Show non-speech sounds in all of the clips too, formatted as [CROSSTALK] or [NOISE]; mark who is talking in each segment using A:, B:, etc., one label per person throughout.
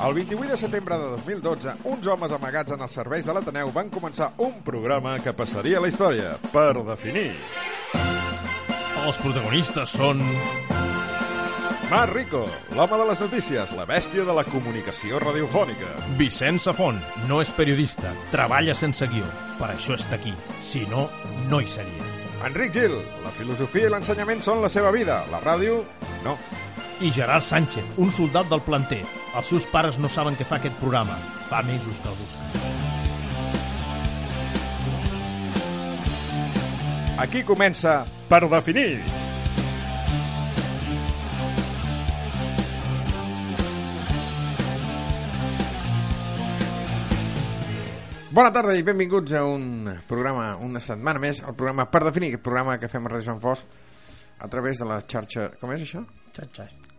A: El 28 de setembre de 2012, uns homes amagats en els serveis de l'Ateneu van començar un programa que passaria a la història, per definir.
B: Els protagonistes són...
A: Mar Rico, l'home de les notícies, la bèstia de la comunicació radiofònica.
B: Vicenç Safont no és periodista, treballa sense guió. Per això està aquí. Si no, no hi seria.
A: Enric Gil, la filosofia i l'ensenyament són la seva vida, la ràdio, no.
B: I Gerard Sánchez, un soldat del planter. Els seus pares no saben què fa aquest programa. Fa mesos que el busquen.
A: Aquí comença Per Definir. Bona tarda i benvinguts a un programa, una setmana més, el programa Per Definir, aquest programa que fem a Ràdio Sant Fos a través de la xarxa... Com és això?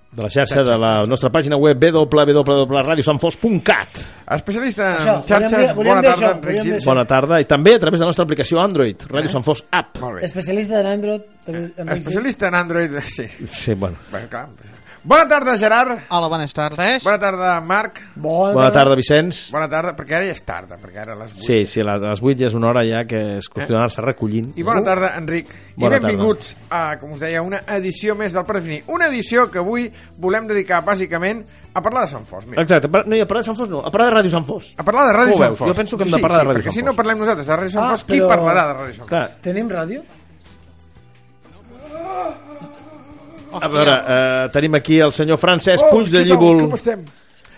C: de la xarxa de la nostra pàgina web www.radiosanfos.cat
A: Especialista
D: Això,
A: en
D: volíem
A: xarxes,
D: dir- volíem
A: bona
D: dir
A: tarda,
D: això,
A: Enric
D: volíem dir
A: Gil.
D: això.
C: Bona tarda i també a través de la nostra aplicació Android
A: Eh?
C: Radio Sant Fos App
A: Molt bé.
D: Especialista en Android. també,
C: Eh,
D: Enric.
A: Especialista en Android, [LAUGHS] sí.
C: Sí, bueno
A: Bé, clar. Bona tarda, Gerard.
E: Hola, bones tardes.
A: Bona tarda, Marc.
D: Bona,
C: Bona tarda Vicenç
A: Bona tarda, perquè ara ja és tarda, perquè ara a les 8.
C: Sí, sí, la- a les 8 ja és una hora ja que és qüestió d'anar-se recollint
A: Eh? I bona tarda, Enric.
C: Uh. Bona
A: I benvinguts a, com us deia, una edició més del Predefinir. Una edició que avui volem dedicar, bàsicament, a parlar de Sant Fos. Mira,
C: Exacte, per- no, i a parlar de Sant Fos no, a parlar de Ràdio Sant Fos
A: a parlar de Ràdio
C: Ho veus?
A: Sant Fos.
C: Jo penso que hem de parlar de
A: sí,
C: Ràdio
A: sí,
C: Sant
A: perquè si
C: Fos.
A: no parlem nosaltres de Ràdio Sant
D: Ah,
A: Fos, qui
D: però-
A: parlarà de Ràdio Sant Fos?
C: Clar,
D: Tenim ràdio?
C: a veure, eh, tenim aquí el senyor Francesc
A: Oh,
C: Puig de
A: què tal?
C: Llívol
A: Com estem?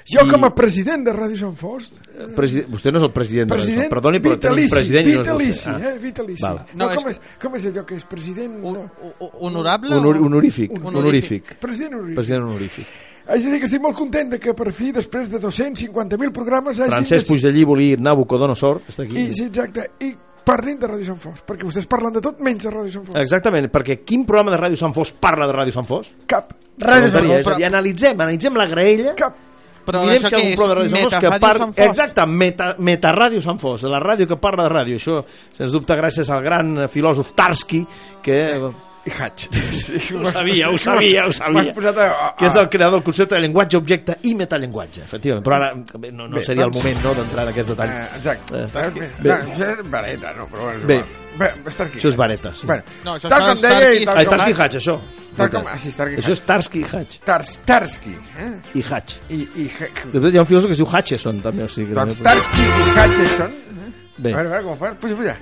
A: Jo,
C: I-
A: com a president de Ràdio Sant Fos,
C: Preside- Vostè no és el president, de Ràdio Sant
A: president,
C: Fos. Perdoni, però tenim
A: vitalici,
C: president i no és vostè.
A: vitalici,
C: Ah.
A: eh, vitalici.
C: Val.
A: No,
E: No, és
A: com,
E: que-
A: és, com és allò que és president... No.
E: O- o- Honorable?
C: Ah. Honor-
E: o-
C: honorífic, honorífic.
A: President Uri.
C: President honorífic.
A: Haig de dir que estic molt content de que per fi, després de 250.000 programes, hagin
C: Francesc Puig de Llívol i Nabucodonosor, està aquí.
A: I, sí, exacte, i parlin de Ràdio Sant Fos, perquè vostès parlen de tot menys de Ràdio Sant Fos.
C: Exactament, perquè quin programa de Ràdio Sant Fos parla de Ràdio Sant Doncs Fos?
A: Cap.
C: Ràdio
D: Sant
C: Sant
D: Fos.
C: Fos. I analitzem, analitzem la graella.
A: Cap.
E: Però
C: Direm si
E: això què
C: algun
E: és?
C: programa de Ràdio Sant Fos que
E: Metafàdio
C: parla...
E: Sant Fos?
C: Exacte, meta, meta Ràdio Sant Fos, la ràdio que parla de ràdio. Això, sens dubte, gràcies al gran eh, filòsof Tarski, que...
A: I
C: [LAUGHS]
A: Hatch.
C: Ho sabia, ho sabia, ho sabia.
A: M'has posat a, a,
C: Que és el creador del concepte de llenguatge, objecte i metallenguatge, efectivament. Però ara bé, no, no
A: Bé,
C: seria el
A: doncs-
C: moment no, d'entrar en aquests
A: Eh,
C: detalls.
A: exacte.
C: Eh,
A: Eh,
C: bé.
A: no, això és vareta, no, però bueno, és
C: Bé.
A: igual. Bé, està aquí.
C: Això és vareta, sí.
A: Bueno,
E: No, això
A: tal
E: és
A: com deia i
E: Tarski.
A: tal
C: Ah, és
A: com...
C: Tarski Hatch, això.
A: Tal com- ah, sí, Tarski
C: Això és Tarski Hatch
A: Tars, Tarski, eh?
C: i Hatch.
A: I, i, Hatch-
C: De fet, hi ha un filòsof que es diu Hutchison, també. O sigui, que
A: doncs
C: també-
A: Tarski i Hutchison. Eh?
C: Bé.
A: A veure, a veure com ho fan. Puja, puja.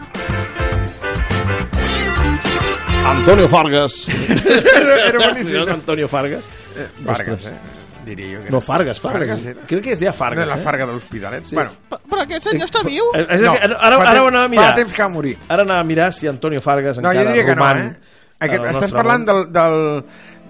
C: Antonio Fargas. [LAUGHS]
A: Era, era
C: Sí,
A: boníssim.
C: és Antonio Fargas.
A: Vargas,
C: Ostres.
A: eh? Diria jo que...
C: No, Fargas, Fargas.
A: Fargas era.
C: Crec que es deia
A: No,
C: Fargas,
A: la
C: eh?
A: Farga de l'Hospitalet. Sí. Bueno,
E: Però- Però aquest senyor està viu?
C: Eh, és que ara, ara,
A: fa
C: ara ho
A: temps-
C: anava a mirar.
A: Fa temps que va morir.
C: Ara anava a mirar si Antonio Fargas
A: No, jo
C: encara
A: diria que no,
C: roman...
A: eh? Aquest,
C: al nostre
A: estàs parlant
C: món.
A: del, del,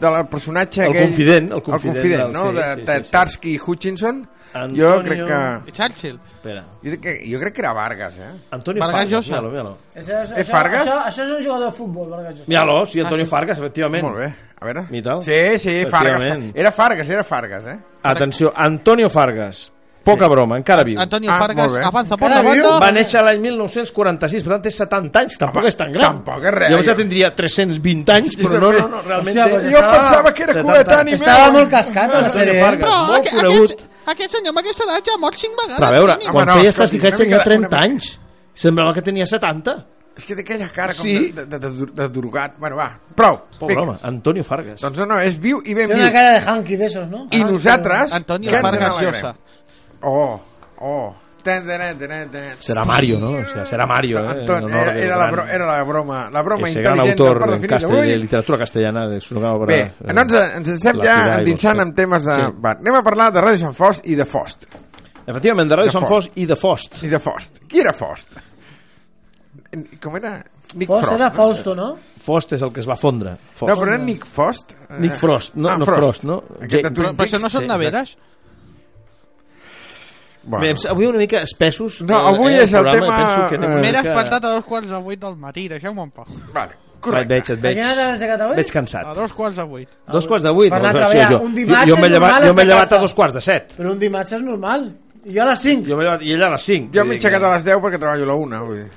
A: del personatge
C: El
A: aquell...
C: confident, el
A: el
C: confident
A: confident,
C: del-
A: no?
C: sí,
A: de,
C: sí,
A: de
C: sí, sí.
A: Tarski i Hutchinson. Jo
C: Antonio-
A: crec que...
C: eh.
E: I Churchill.
C: Espera.
A: Jo crec que, jo crec que era Vargas, eh?
C: Antonio
E: Vargas
C: Fargas,
E: Llosa.
C: míralo, míralo.
D: Això és,
A: És
D: això,
A: Fargas?
D: Això, això és un jugador de futbol, Vargas Llosa.
C: Míralo, sí, Antonio Fargas, efectivament.
A: Molt bé, a veure.
C: I tal?
A: Sí, sí, Fargas.
C: Efectivament.
A: Era Fargas, era Fargas, eh?
C: Atenció, Antonio Fargas. Poca broma, encara viu.
E: Antonio
A: Ah, molt
E: Fargas
A: bé.
E: avança per la
D: Encara viu?
E: banda.
C: Va néixer l'any 1946, per tant té 70 anys, tampoc és tan gran.
A: tampoc és res,
C: Llavors ja
A: jo.
C: tindria 320 anys, però no, no, no realment...
D: Hòstia,
C: té-
D: pues
A: Jo
D: Estava-
A: pensava que era
C: 70.
A: coetani meu.
D: Estava molt cascat a la sèrie.
C: Antonio Fargas.
D: eh?
E: Però
C: molt
E: aqu-
C: conegut.
E: Aquest, aquest senyor amb aquesta edat ja ha mort cinc vegades.
C: Però a veure,
E: Toni.
A: Home,
C: quan
A: no,
C: feia
A: escolti,
C: Stas Hitch
A: una
C: tenia
A: mica de-
C: 30
A: una
C: anys. Semblava que tenia 70.
A: És que té aquella cara com
C: Sí.
A: de, de, de, dur- de drogat. Bueno, va, prou.
C: Pobre
A: Vinga.
C: home, Antonio Fargas.
A: Doncs no, no, és viu i ben
D: Té
A: viu.
D: una cara de hanky d'esos, no?
E: Ah,
A: I nosaltres...
E: Antonio
A: que ens
E: Fargas
A: n'alegrem.
E: Llosa.
A: Oh, oh. Tan, tan, tan, tan.
C: Serà Mario, no? O sigui, serà Mario, eh?
A: Anton,
C: en honor
A: era,
C: del
A: era, la
C: gran-
A: bro, era la broma, la broma
C: Ese gran
A: intel·ligent
C: autor
A: del Parc
C: de,
A: Definit
C: castell, de
A: d'avui.
C: literatura castellana de su obra...
A: Bé,
C: eh,
A: no ens, ens estem
C: La
A: ja
C: Fidaigo,
A: endinsant
C: eh?
A: amb temes de...
C: Sí.
A: Va, anem a parlar de Ràdio Sant Fost i de Fost.
C: Efectivament, de Ràdio
A: de
C: Sant
A: Fost.
C: Fos i de Fost.
A: I de Fost. Qui era Fost? Com era? Nick
D: Fos
A: Frost,
D: era
A: no?
D: Fausto, no?
C: Fost és el que es va fondre. Fost.
A: No, però era Nick Frost. eh,
C: Nick Frost, no,
A: ah,
C: no Frost, no?
A: Aquest de
C: Jake-
E: Però,
A: Twin
E: però això no
A: Peaks.
E: són neveres?
A: Bueno.
C: Bé, em sa- avui una mica espessos.
A: No,
C: eh,
A: avui és el
C: programa,
A: tema,
C: penso que anem
A: eh,
C: una
E: M'he
C: mica-
E: despertat a dos quarts de vuit del matí, deixeu-me en pau.
A: Vale,
C: Vaig,
A: correcte.
C: veig, et
D: A
C: veig.
D: quina hora t'has aixecat avui?
C: Veig
E: A
C: cansat.
E: dos quarts de vuit.
C: Dos quarts de vuit.
D: Per
C: no,
D: anar a
C: no, sí,
D: treballar
C: jo-
D: un dimarts
C: jo- Jo m'he
D: és
C: llevat,
D: normal
C: jo m'he llevat
D: aixecar-se.
C: a dos quarts de set.
D: Però un dimarts és normal. I jo a les 5.
C: Jo m'he llevat, i ella a les cinc.
A: Jo em
C: vull
A: m'he
C: dir que-
A: aixecat a les 10 perquè treballo a la 1, vull dir.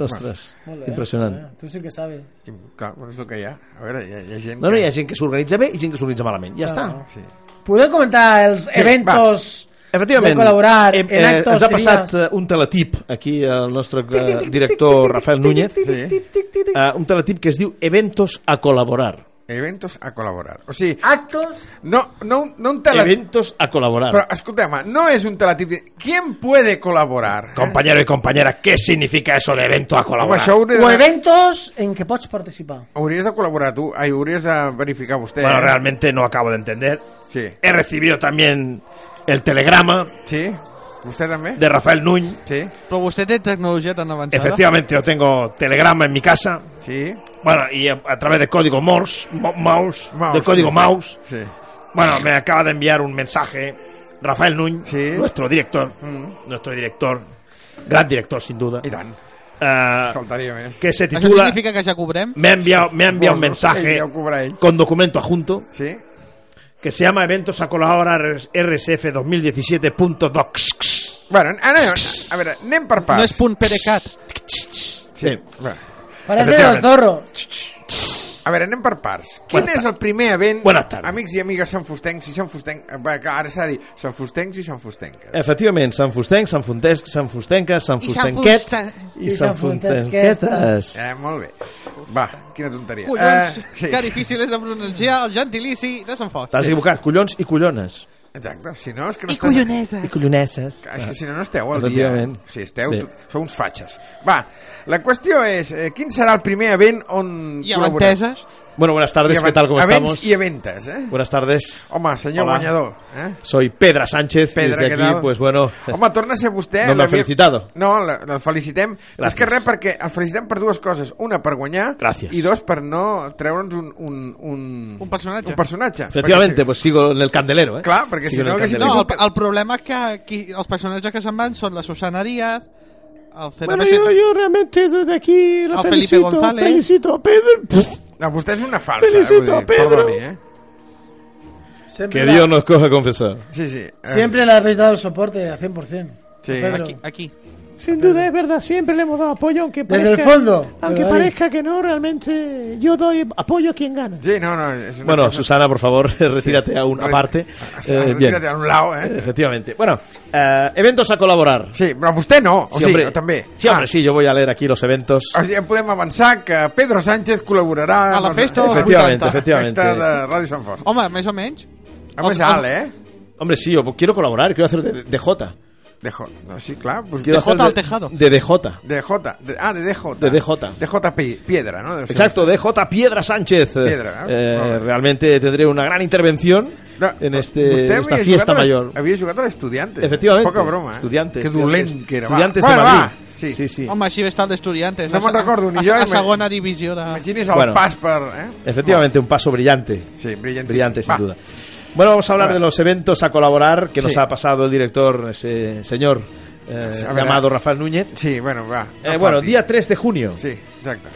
C: Ostres, impressionant.
D: Tu eh, sí que sabes.
A: I, clar, bueno, és el que hi ha. A veure, hi ha, hi ha gent
C: No, no,
A: que...
C: hi ha gent que s'organitza bé i gent que s'organitza malament. Ja està.
D: Claro.
A: Sí.
D: Podem comentar els eventos...
C: Efectivament,
D: Vull col·laborar
C: hem, eh,
D: en actos
C: ens Em, ha
D: que
C: passat
D: digas.
C: eh, un teletip aquí el nostre eh, director Rafael Núñez, eh, un teletip que es diu Eventos a col·laborar.
A: Eventos a col·laborar. O sigui,
D: Actos...
A: no, no, un- no un teletip...
C: Eventos a col·laborar.
A: Però, escolta'm, no és un teletip... de- ¿Quién puede colaborar?
C: Compañero y compañera, ¿qué significa eso de evento a
A: Home,
C: col·laborar?
A: això hauria
D: O
A: de,
D: eventos en què pots participar.
A: hauries de col·laborar tu. Ai, hauries de verificar vostè.
C: Bueno,
A: eh?
C: realmente no acabo de entender.
A: Sí.
C: He recibido también el telegrama
A: Sí? Vostè també?
C: de Rafael Núñez.
A: Sí?
E: Però vostè té tecnologia tan avançada.
C: Efectivamente, yo tengo telegrama en mi casa.
A: Sí?
C: Bueno, y a, a través de código Morse, mo- mouse,
A: Mouse,
C: del código
A: sí.
C: mouse.
A: Sí.
C: Bueno, me acaba de enviar un mensaje Rafael Núñez,
A: Sí.
C: nuestro director,
A: Mm.
C: nuestro director, gran director sin duda,
A: I tant.
C: eh,
A: Faltaria més.
C: que se
E: Això
C: titula
E: significa que ja cobrem?
C: me ha enviado, me ha enviado un
A: Vos, no? Ell
C: mensaje
A: ja ho cobrarà ell.
C: con documento adjunto
A: Sí?
C: que se llama Eventos a colaborar RSF 2017.docs.
A: Bueno, ara, a veure, anem per parts.
E: No és punt PDeCAT.
C: Sí.
A: Bueno,
D: Parece el
C: Efectivament.
D: zorro.
A: a veure, anem per parts. Quin
C: Buenas
A: és el primer event...
C: Buenas tardes.
A: Amics i amigues sanfustencs i sanfustencs... Ara s'ha de dir sanfustencs i sanfustenques.
C: Eh, Efectivament, Sant Fustenc, Sant Fontesc, Sant Fustenca, Sant Fustenquets
D: i Sant Fustenquetes.
A: Eh, molt bé. Va, quina tonteria.
E: Collons,
A: eh, sí.
E: que difícil és de pronunciar el gentilici de Sant Fox.
C: T'has equivocat, collons i collones.
A: Exacte, si no és que no
E: I
A: estàs...
E: colloneses.
C: Colloneses.
A: És que si no, no esteu al dia.
C: Efectivament.
A: Si esteu,
C: Sí.
A: sí. sou uns fatxes. Va, la qüestió és, eh, quin serà el primer event on...
E: I
A: col·laborem?
E: avanteses.
C: Bueno, buenas
A: I
C: tardes,
A: avan-
C: ¿qué tal? ¿Cómo
A: avents
C: estamos?
A: i aventes, eh?
C: Buenas tardes.
A: Home, senyor
C: Hola.
A: guanyador, eh?
C: Soy Pedra Sánchez
A: Pedra,
C: y
A: què
C: desde aquí,
A: tal?
C: pues bueno,
A: Home, torna a ser vostè...
C: No m'ha
A: l'havia-
C: felicitado.
A: No, la- el felicitem. Gràcies.
C: Gràcies.
A: És que res, perquè el felicitem per dues coses. Una, per guanyar.
C: Gràcies.
A: I dos, per no treure'ns un... Un, un,
E: Un personatge.
A: Un personatge.
C: [LAUGHS] efectivamente,
A: Perquè
C: pues sigo en el candelero, ¿eh?
A: Clar, perquè si
C: Sigo en
A: no
C: el
A: haguéssim-
E: No,
C: candelero.
E: el, el problema és que aquí, els personatges que se'n van són la Susana Díaz, el
C: Bueno,
E: CNPC...
C: yo, yo realmente desde aquí la
E: A Felipe
C: felicito,
E: González.
C: felicito a Pedro. Pff,
A: si- No, vostè és una falsa.
C: Felicito,
A: vull dir,
C: Pedro.
A: Perdoni, eh?
D: Sempre
C: Que
D: la-
C: Dios nos coja confesar.
A: Sí, sí. eh,
D: Siempre le habéis dado el soporte al 100%.
A: Sí.
D: Pedro.
E: Aquí, aquí.
F: Sin duda es verdad, siempre le hemos dado apoyo, aunque
D: Desde
F: parezca,
D: el fondo,
F: aunque
D: pero ahí.
F: parezca que no, realmente yo doy apoyo a quien gana.
A: Sí, no, no. És una
C: Bueno,
A: cosa-
C: Susana, por favor, [LAUGHS] retírate a un aparte. Eh,
A: Eh,
C: bien.
A: Retírate a un lado, eh?
C: Efectivamente. Bueno, eh, eventos a colaborar.
A: Sí, Ah. però vostè no. O sí, sigui,
C: hombre.
A: o també.
C: Sí, hombre, sí, yo voy a leer aquí los eventos.
A: O sigui, podem avançar que Pedro Sánchez col·laborarà...
E: A
A: amb
E: la
A: els-
E: festa
A: amb
E: dels
C: Efectivamente,
E: 80.
A: la
C: efectivamente.
A: festa de Ràdio Sant Fort.
E: Home, més o menys.
A: Home, és
E: els-
A: alt, eh?
C: Hombre, sí, yo quiero colaborar, quiero hacer de, de J.
A: Dejo, no, sí, clar. Pues,
C: Quiero
E: J
C: hacer
E: al tejado.
C: De DJ.
A: De J, de- ah, de DJ.
C: De DJ.
A: DJ pi- Piedra, ¿no? Debe ser.
C: Exacto, DJ Piedra Sánchez.
A: Piedra, ¿eh?
C: Eh,
A: Vale.
C: realmente tendré una gran intervención
A: No,
C: en
A: vostè
C: este, esta fiesta
A: havia jugat a l'est-
C: mayor.
A: Havia jugat a l'estudiante.
C: Efectivamente.
A: Poca broma, eh?
C: Estudiantes.
A: Que dolent
C: estudiantes,
A: que era. va.
C: Estudiantes
A: Va,
C: de
A: va,
C: Madrid.
A: Sí.
C: sí, sí.
E: Home, així ve estar d'estudiantes.
A: No me'n recordo, ni
E: a,
A: jo,
E: A,
A: i me-
E: segona divisió de...
A: Imagini's el
C: Bueno.
A: pas per... Eh?
C: Efectivamente, un paso brillante.
A: Sí, brillantísimo.
C: Brillante, sin
A: Va.
C: duda. Bueno, vamos a hablar
A: Va.
C: de los eventos a colaborar que nos
A: Sí.
C: ha pasado el director, ese señor eh,
A: Sí, a ver,
C: llamado
A: a-
C: Rafael Núñez.
A: Sí, bueno, va.
C: Eh,
A: no
C: bueno,
A: falti.
C: día 3 de junio,
A: Sí, exacte.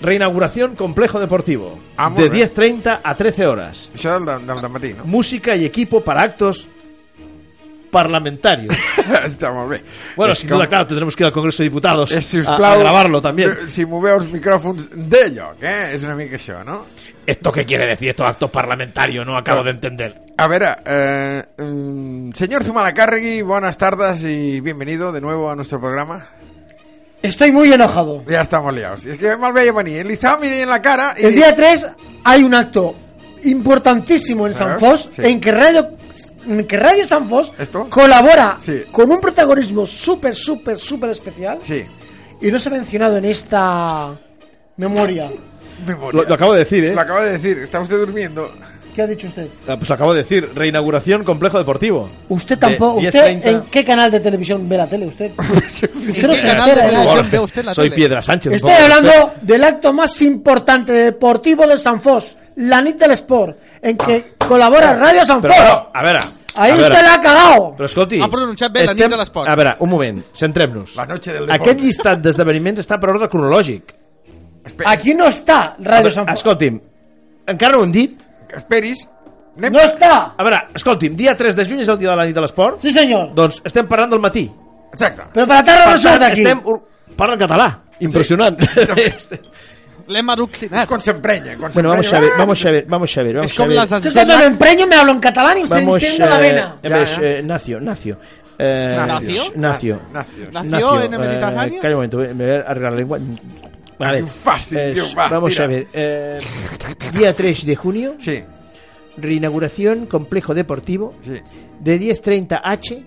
C: reinauguración Complejo Deportivo,
A: Ah, muy
C: de
A: bien.
C: 10.30 a 13 horas.
A: Això del, del, del matí,
C: [LAUGHS]
A: no? [LAUGHS]
C: Música y equipo para actos
A: [LAUGHS]
C: parlamentarios.
A: Està molt bé.
C: Bueno,
A: És
C: sin
A: com-
C: duda, claro, tendremos que ir al Congreso de Diputados
A: És,
C: a-
A: sisplau,
C: a grabarlo también.
A: eh, Si moveu els micròfons de lloc, eh? És una mica això, no?
C: ¿Esto qué quiere decir estos actos parlamentarios? No
A: Ah.
C: acabo de entender.
A: A ver, eh, mm, señor Zumalacárregui, buenas tardes y bienvenido de nuevo a nuestro programa.
D: Estoy muy enojado.
A: Ya estamos liados. Es que mal veía venir. Enlistaba mi en la cara y...
D: El día 3 hay un acto importantísimo en San
A: Claro,
D: Fos
A: sí.
D: en que Radio en que Radio San Fos
A: ¿Esto?
D: colabora
A: Sí.
D: con un protagonismo súper súper súper especial
A: Sí.
D: y no se ha mencionado en esta memoria.
A: Memoria.
C: Lo, lo acabo de decir, ¿eh?
A: Lo acaba de decir. Está usted durmiendo.
D: ¿Qué ha dicho usted?
C: Ah, pues lo acabo de decir, reinauguración complejo deportivo.
D: Usted tampoco.
C: De 10,
D: ¿Usted
C: 30. [LAUGHS]
D: en qué canal de televisión ve la tele? Usted. usted no
E: qué
D: se entera
E: canal
D: ya.
E: de televisión?
C: Jorge,
E: ve usted la
C: soy
E: tele.
C: Piedra Sánchez.
D: Estoy
C: por favor.
D: hablando del acto más importante deportivo de San Fos, la NIT del Sport, en que
C: Ah.
D: colabora Radio San
C: Però,
D: Fos.
C: però, a veure...
D: Ahí
C: a veure,
D: usted la ha cagado.
C: Però escolti...
E: Ha pronunciat bé la nit de l'esport.
C: A veure, un moment, centrem-nos.
A: La noche del
C: Aquest
A: deporte.
C: llistat d'esdeveniments està per ordre cronològic.
A: Espera,
D: Aquí no está
C: eh, A
D: Radio
C: veure,
D: San Fos.
C: escolti'm, encara no ho hem dit.
A: Esperis. Anem...
D: No está.
C: A veure, escolti'm, dia 3 de juny és el dia de la nit de l'esport.
D: Sí, señor.
C: Doncs estem parlant del matí.
A: Exacte.
D: Pero para tarde no
C: Per
D: sale
C: tant,
D: de aquí.
C: estem... Parla en català. Impressionant.
E: L'hem eruclinat.
A: Quan s'emprenya. Quan
C: [LAUGHS] bueno, vamos
A: s'emprenya,
C: Xavier,
A: ah!
C: vamos Xavier, vamos Xavier, vamos
E: És com
C: Xavier.
E: les
D: Yo cuando me
E: antenas.
D: empreño me hablo en catalán y se
C: Vamos,
D: enciende la
C: eh,
D: vena.
C: en vez,
A: Ya, ya.
C: eh, Nacio, Nacio. Eh,
E: Nacio.
C: Nacio.
A: Nacios.
E: Nacio
C: Nacio,
E: en el
C: eh,
E: Mediterráneo.
C: calla un momento, voy- me voy a arreglar la lengua. Vale.
A: Fácil, tío, va,
C: vamos
A: tira.
C: a ver. eh, día 3 de junio,
A: Sí,
C: reinauguración complejo deportivo
A: sí.
C: de 10.30H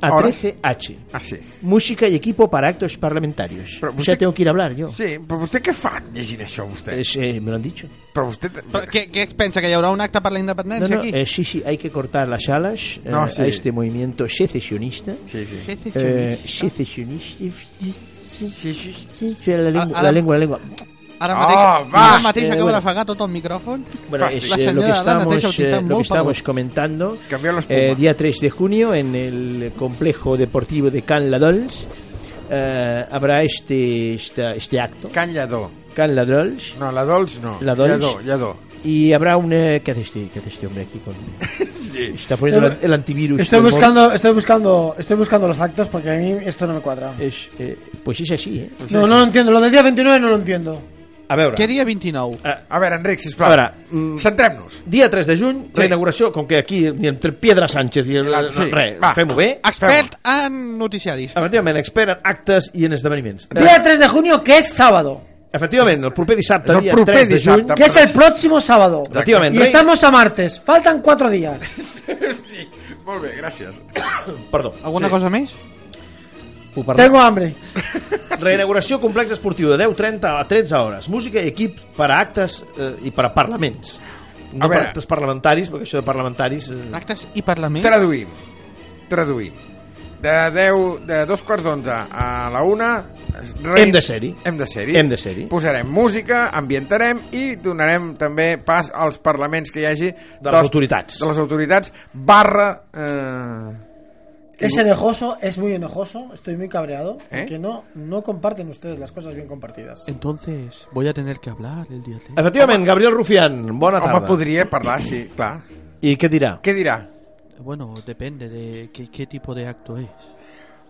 C: a
A: Ahora.
C: 13H.
A: Ah, sí.
C: Música y equipo para actos parlamentarios.
A: Pero
C: O sea,
A: usted-
C: tengo que ir a hablar yo.
A: Sí, però vostè què fa llegint això, vostè?
C: Es, eh, me lo han dicho.
A: Però vostè... t-
E: Però Què, què es pensa, que hi haurà un acte per la
C: No,
E: independència
C: no,
E: aquí?
C: eh, sí, sí, hay que cortar las alas eh,
A: No, sí.
C: a este movimiento secesionista.
A: Sí, sí.
E: Sí, sí, sí.
C: Eh, secesionista.
A: Sí, sí, sí.
C: Sí, sí, la lengua,
E: Ara-
C: la lengua, la lengua.
E: Ara
A: Ah,
E: mateix,
A: va!
E: ara mateix
C: Eh,
E: acaba
C: bueno.
E: de fegar tot el micròfon.
C: Bueno,
A: Fácil.
C: es,
E: La
C: eh, lo que
E: señora Lana
C: estamos,
E: Teixeira
C: eh,
E: utiliza un
C: lo que
E: bol para
C: estamos comentando,
A: Cambió la espuma.
C: eh, día 3 de junio en el complejo deportivo de Can Ladols, eh, habrá este, esta- este acto,
A: Can Lladó.
C: Can Ladols,
A: No, la Dols no.
C: La Dols?
A: Lladó, Lladó.
C: y habrá un... eh, ¿qué, hace este, qué hace este hombre aquí? Con,
A: [LAUGHS] Sí.
C: está poniendo el, el antivirus.
D: Estoy
C: del móvil.
D: buscando, estoy buscando, estoy buscando los actos porque a mí esto no me cuadra.
C: Es, eh, pues es así, ¿eh?
D: No, no lo entiendo. Lo del día 29 no lo entiendo.
C: A veure,
E: Què dia 29?
A: A veure, Enric, sisplau.
C: a veure mm,
A: Centrem-nos.
C: dia 3 de juny,
A: Sí.
C: la inauguració, com que aquí entre Piedra Sánchez i... El,
A: La- sí,
C: res,
A: va.
C: fem-ho bé.
E: Expert en noticiaris.
C: Efectivament, expert en actes i en esdeveniments.
D: Día 3 de junio, que es sábado.
C: Efectivament, el proper dissabte,
A: És el
C: dia
A: proper
C: 3 de
A: dissabte.
C: juny...
D: Que es el próximo sábado.
C: Efectivament,
D: Y
C: rei-
D: estamos a martes. Faltan cuatro días.
A: Sí. Molt bé, gràcies.
C: Perdó.
E: Alguna cosa més?
C: Ho parlem.
D: Tengo hambre.
C: Reinauguració complex esportiu de 10.30 a 13 hores. Música i equip per a actes eh, i per a parlaments. No
A: A
C: per
A: veure.
C: actes parlamentaris, perquè això de parlamentaris... Eh,
E: Actes i parlaments?
A: Hm? Traduïm. Traduïm. De 10, de dos quarts d'onze a la una... Re...
C: Hem de ser-hi.
A: Hem de ser-hi.
C: Hem de ser-hi.
A: Posarem música, ambientarem i donarem també pas als parlaments que hi hagi...
C: les autoritats.
A: De les autoritats, barra... Eh...
D: Es enojoso, es muy enojoso. Estoy muy cabreado.
A: ¿Eh?
D: Que no, no comparten ustedes las cosas bien compartidas.
E: Entonces, voy a tener que hablar el día 3.
C: Efectivament, Gabriel Rufián, bona
A: Home,
C: tarda.
A: podria parlar, sí, clar.
C: I què dirà?
A: Què dirà?
E: Bueno, depende de qué, qué tipo de acto es.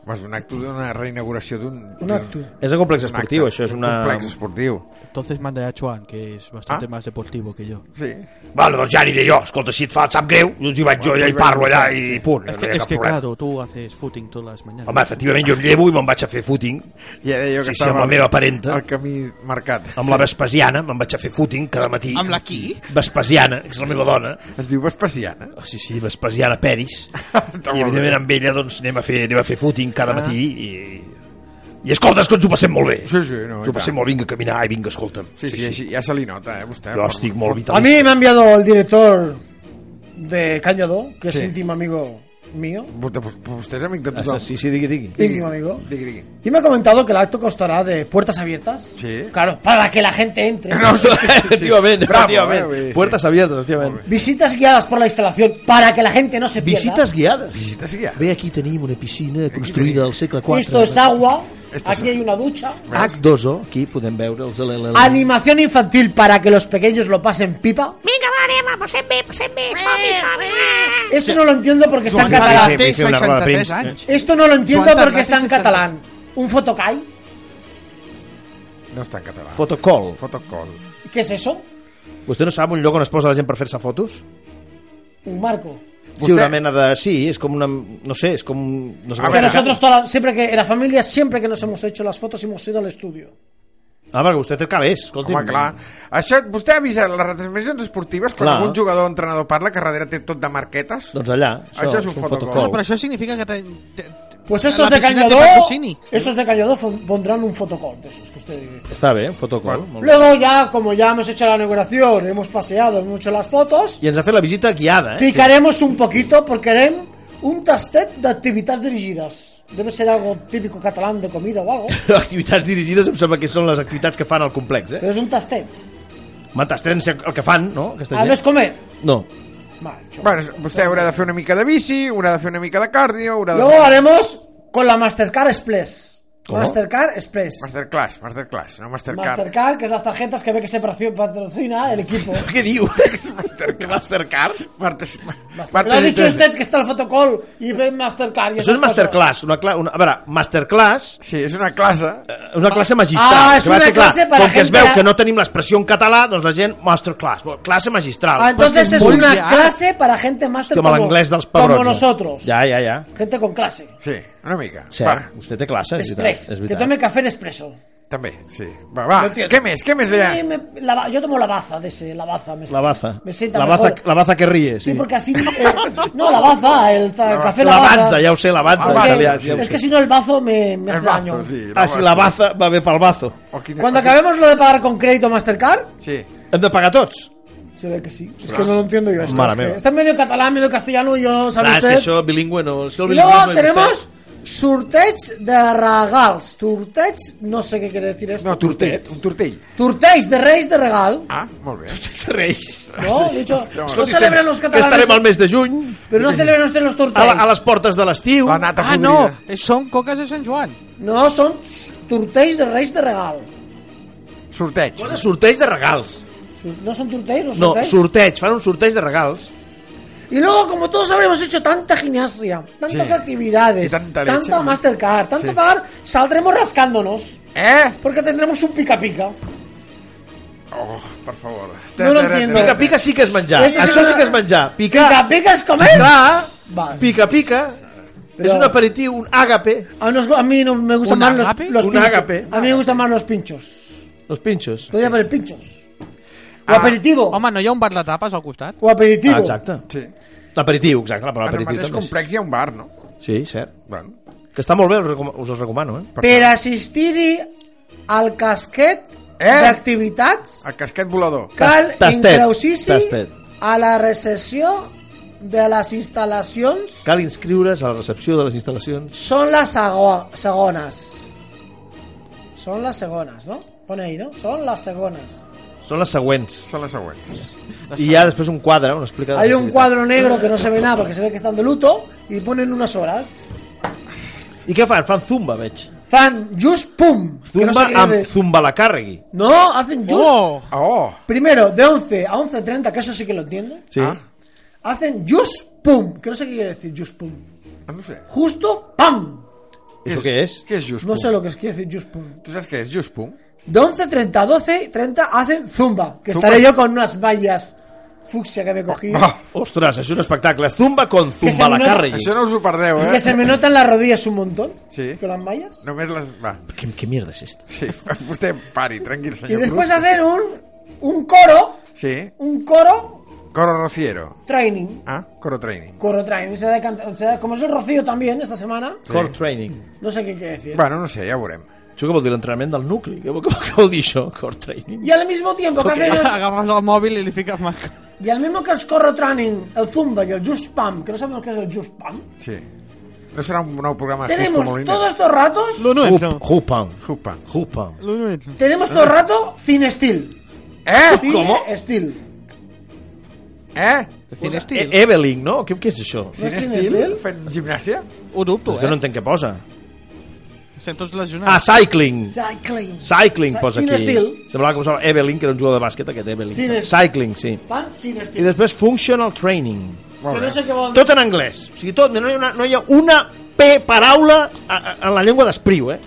A: Pues un acte d'una reinauguració d'un...
D: Un
A: d'un-
D: acto.
C: És un complex
A: un acte,
C: esportiu, això és una...
A: Un complex esportiu.
E: Entonces manda a Chuan, que es bastante
A: Ah.
E: más deportivo que yo.
A: Sí.
G: Vale, doncs ja aniré jo. Escolta, si et fa, et sap greu, doncs hi vaig jo, ja hi parlo allà i punt.
E: Es
G: No hi
E: que,
G: ha
E: es
G: cap
E: que
G: problema.
E: claro, tú haces footing todas las mañanas.
G: Home, efectivament, jo em llevo i me'n vaig a fer footing
A: Ja deia jo que
G: Sí, sí, amb la meva parenta.
A: El camí marcat.
G: amb la Vespasiana, me'n vaig a fer footing cada matí.
E: Amb la qui?
G: Vespasiana, que és la meva dona.
A: Es diu Vespasiana.
G: Ah, Sí, sí, Vespasiana Peris.
A: [LAUGHS] Està
G: I
A: molt bé. Ah.
G: evidentment amb ella doncs, anem, a fer, anem a fer footing cada matí i... I escolta, escolta, ens ho passem molt bé.
A: Sí, sí, no,
G: ens
A: i
G: ho passem
A: tant.
G: molt, vinga, a caminar, i vinga, escolta'm.
A: Sí, sí, sí, ja se li nota, eh, vostè.
G: Jo estic molt
D: A
G: vitalista.
D: mí me ha enviado el director de Cañado, que es
A: Sí.
D: íntimo amigo mío.
A: Vostè, vostè és amic de
C: Ah,
A: tothom.
C: Sí, sí, digui, digui.
D: Íntimo amigo.
A: Digui, digui.
D: Y me ha comentado que el acto constará de puertas abiertas.
A: Sí.
D: Claro, para que la gente
A: [LAUGHS]
D: entre.
C: eh, efectivament,
A: Bravo, eh,
C: efectivament.
A: vull dir, sí.
C: Puertes abiertes, efectivament.
D: Visitas guiadas por la instalación para que la gente no se pierda.
C: Visites guiades.
A: Visita sí, ja.
C: Ve, aquí tenim una piscina construïda al segle IV.
D: Esto es agua.
A: Esto es
D: Aquí hay una ducha.
C: H2O, oh, aquí podem veure els... el- el- el-
D: Mm. Animación infantil para que los pequeños lo pasen pipa.
H: Vinga, va, anem, passem bé, passem bé. Som-hi, som-hi. va.
D: Esto no lo entiendo porque está en
E: Joan
D: catalán.
E: Fernández,
G: Fer una roda de
E: 63
G: premsa.
E: anys.
D: Esto no lo entiendo
E: Joan
D: porque
E: Fernández
D: está en
E: está-
D: catalán. ¿Un fotocay?
A: No està en català.
C: Fotocall.
A: Fotocol.
D: ¿Qué es eso?
C: Vostè no sap un lloc on es posa la gent per fer-se fotos?
D: Un marco.
C: Sí, una mena de... Sí, és com una... No sé, és com... No sé
A: A
C: com-
D: Es que
A: ver,
D: nosotros, toda la- siempre que en la familia, siempre que nos hemos hecho las fotos, hemos ido al estudio.
C: Ah, perquè vostè té calés, escolti.
A: Home, clar. Això, vostè avisa les retransmissions esportives quan
C: Clar.
A: algun jugador o entrenador parla que darrere té tot de marquetes?
C: Doncs allà, això,
A: Això és un
C: és un
A: fotocall.
C: fotocall.
E: Però això significa que te, te, te,
D: Pues estos
E: La
D: de
E: piscina de
D: Cañodó,
E: Pancosini.
D: estos de Cañodó fon- pondrán un fotocall de esos que usted dice.
C: Està bé, fotocall.
A: Bueno.
C: molt bé.
D: Luego ya, como ya hemos hecho la inauguración, hemos paseado, hemos hecho las fotos,
C: I ens ha fet la visita guiada, eh?
D: picaremos un poquito porque haremos un tastet de actividades dirigidas. Debe ser algo típico catalán de comida o algo,
C: [LAUGHS] Activitats dirigides em sembla que són les activitats que fan al complex, eh?
D: pero es un tastet.
C: M'entestren el que fan, no? Aquesta
D: A no es comer.
C: No.
D: Mal, cho.
A: Bueno, vostè haurà de fer una mica de bici, haurà de fer una mica de cardio, haurà de...
D: Luego haremos con la Mastercard Express.
C: ¿Cómo?
D: Mastercard Express.
A: Masterclass, masterclass, no mastercard.
D: Mastercard, que es las tarjetas que ve que se patrocina- patrocina el equipo.
C: Què
D: [LAUGHS]
C: diu? Mastercard?
A: Martes,
D: Pero ha
A: martes i
D: dicho
A: tres-
D: usted que está el fotocall y ve Mastercard. Y
C: Això és
D: esas cosas.
C: masterclass. Una cla una, a veure, masterclass,
A: Sí, és una classe.
C: eh, una classe magistral.
D: Ah, és
C: que va
D: una
C: ser clar,
D: classe per a
C: Com que es
D: gent
C: veu
D: que-
C: que no tenim l'expressió en català, doncs la gent, masterclass, bueno, classe magistral.
D: Ah, entonces es
E: muy
D: una
E: ya.
D: clase para gente master
C: Hòstia, amb
D: como,
C: l'anglès dels
D: como
C: pebrots. eh?
D: nosotros.
C: Ja, ja, ja.
D: Gente con clase.
A: Sí, una mica.
C: Cert, vostè té classe, és veritat.
D: Express.
C: És
D: Que
C: veritat.
D: tome café en expreso.
A: Va, també, sí. Va, va.
D: No entiendo.
A: Què més? Què més hi ha?
D: Y me- la ba- yo tomo la baza de ese, la baza. Me,
C: La baza.
D: Me sienta
C: La baza,
D: mejor.
C: la baza que ríe,
D: Sí,
C: sí.
D: porque así... eh, no, la baza, el, ta- el café la
C: L'avanza,
D: baza.
C: ja ho sé, l'avanza.
A: Avanza,
C: ja,
D: Porque
C: ja ho
D: es
C: sé.
D: que si no el bazo me, me hace
A: El bazo,
D: daño.
A: sí.
C: Ah, si la baza va bé pel bazo.
A: O quina-
D: Cuando
A: o quina-
D: acabemos lo de pagar con crédito Mastercard,
A: Sí.
C: Hem de pagar tots?
D: se ve que sí. Es que no lo entiendo yo. esto,
C: Mare
D: es que
C: meva.
D: está en medio catalán, medio castellano y yo, ¿sabe
C: Clar, és
D: usted?
C: que això bilingüe no... És que el
D: Y
C: bilingüisme
D: luego
C: vostè- [LAUGHS]
D: tenemos sorteig de regals. Sorteig, no sé qué quiere decir esto.
A: No, tortell. Un tortell.
D: Sorteig de reis de regal.
A: Ah, molt bé.
C: Reis.
D: No, de hecho,
A: no,
D: no
A: escolti,
D: celebran los
C: Que estarem al mes
D: catalanes.
C: de juny,
D: Pero no celebran ustedes los
C: a, la, a
D: tortells.
C: les portes de l'estiu.
A: La nata
E: Ah,
A: podrida.
E: no, són coques de Sant Joan.
D: No, son tortells de reis de regal.
A: Sorteig.
C: Cosa sorteig de regals.
D: Sur- No son tortells, no
C: No,
D: son tortells.
C: sorteig, fan un sorteig de regals.
D: Y luego, como todos habremos hecho tanta gimnasia, tantas
A: Sí. Y
D: actividades,
A: tanta
D: tanta,
A: leche, ¿no?
D: Mastercard, tanto
A: Sí.
D: pagar, saldremos rascándonos.
A: Eh?
D: Porque tendremos un pica-pica.
A: Oh, per favor.
D: No lo entiendo.
C: Pica, pica sí que és menjar.
D: Sí, sí, sí,
C: Això sí
D: no.
C: que és menjar. Picar,
D: ¿Pica-pica es comer?
C: picar,
D: Va.
C: pica, pica. És
D: Però-
C: un aperitiu, un agape.
D: A, nos- a mí no me gustan
E: ¿Un
D: más los,
E: agape?
D: los
C: ¿Un
D: pinchos.
C: agape?
D: A mí me gustan más los pinchos.
C: Los pinchos.
D: Podría haber pinchos.
A: Ah,
D: O aperitivo.
E: Home, no hi ha un bar de tapes al costat?
D: O aperitivo.
C: Ah, exacte.
A: Sí.
C: L'aperitiu, exacte, la
A: En
C: paraula
A: el mateix
C: aperitiu. també
A: complex hi ha un bar, no?
C: és- Sí, cert.
A: Bueno,
C: Que està molt bé, us recoma- us els recomano, eh?
D: Per assistir-hi al casquet
A: Eh?
D: d'activitats
A: el casquet volador.
D: cal
C: tastet,
D: increusir-s'hi
C: tastet.
D: a la recessió de les instal·lacions
C: Cal inscriure's a la recepció de les instal·lacions.
D: són les sego- segones. Són les segones, no? Pon ahí, no? Són les segones.
C: Són les següents.
A: Són les següents.
C: I hi ha després un quadre on explica... les
D: Hay un
C: activitats.
D: cuadro negro que no se ve nada porque se ve que están de luto y ponen unas horas.
C: I què fan? Fan zumba, veig.
D: Fan just pum. que no, sé
C: Zumba
D: qué
C: amb
D: de-
C: zumba la càrregui.
D: no, hacen just.
E: Oh!
A: Oh!
D: Primero, de 11 a 11.30, que eso sí que lo entiendo.
C: Sí.
A: Ah.
D: Hacen just pum. Que no sé qué quiere decir just pum.
A: No sé.
D: Justo pam.
C: Això què és?
A: Què és just
D: No
A: pum?
D: sé lo que es quiere decir just pum.
A: Tu saps què és just pum?
D: De 11.30 a 12.30 hacen zumba. Que
A: Zumba.
D: estaré yo con unas mallas fucsia que me cogí.
A: [LAUGHS] Oh,
C: Ostres, és un espectacle. Zumba con
D: Que se
C: zumba la
D: me nota-
C: càrregui.
A: això no us ho perdeu,
D: Y
A: eh?
D: que se me notan las rodillas un montón.
A: Sí.
D: Con las mallas.
A: Només les... Va,
C: ¿Qué, qué mierda es esta?
A: sí. [LAUGHS] Vostè pari, tranquil,
D: Y
A: senyor
D: después
A: Cruz.
D: hacen un, un coro.
A: Sí.
D: Un coro
A: Coro Rociero.
D: training.
A: Ah, coro training.
D: Coro training. Se ha de cantar- se ha- como es el Rocío también esta semana.
A: Sí.
C: Core training.
D: No sé qué quiere decir.
A: Bueno, no sé, ja ho veurem.
C: Això què vol dir? L'entrenament del nucli? Què vol, què vol- què vol dir això? Core training?
D: Y al mismo tiempo que hacen
A: [LAUGHS]
D: los-
E: Agafes el mòbil i li fiques mà.
D: Y al mismo que els corro training, el Zumba y el Just Pam, que no sabemos qué es el Just Pam,
A: Sí. No serà un nou programa de Ah, Justo
D: tenemos
A: Moliner?
D: todos estos ratos,
E: L'un no entra.
C: Hupam.
A: Justo.
C: Hupam.
E: L'un no entra.
D: tenemos todo el rato Cine Steel.
A: Eh?
D: Cine
C: ¿Cómo?
D: Steel.
A: Eh?
E: Quin
C: E
E: estil?
C: Eveling, no? Què, què és això?
D: No és
A: Quin
D: Cine
A: estil?
D: Steel?
A: Fent gimnàsia?
E: Ho dubto,
C: És que no
E: eh?
C: entenc què posa.
E: Estem tots
C: Ah,
E: lesionats.
C: cycling.
D: Cycling.
C: Cycling
D: Sa-
C: posa
D: Cine
C: aquí.
D: Steel.
C: Semblava que posava Eveling, que era un jugador de bàsquet, aquest Eveling.
D: Cine-
C: Cycling, sí.
D: Fan Cine
C: I
D: Steel.
C: després functional training.
D: Que no sé què vol dir.
C: Tot en anglès. O sigui, tot, no hi ha una, no hi ha una P paraula a, a, en la llengua d'espriu, eh?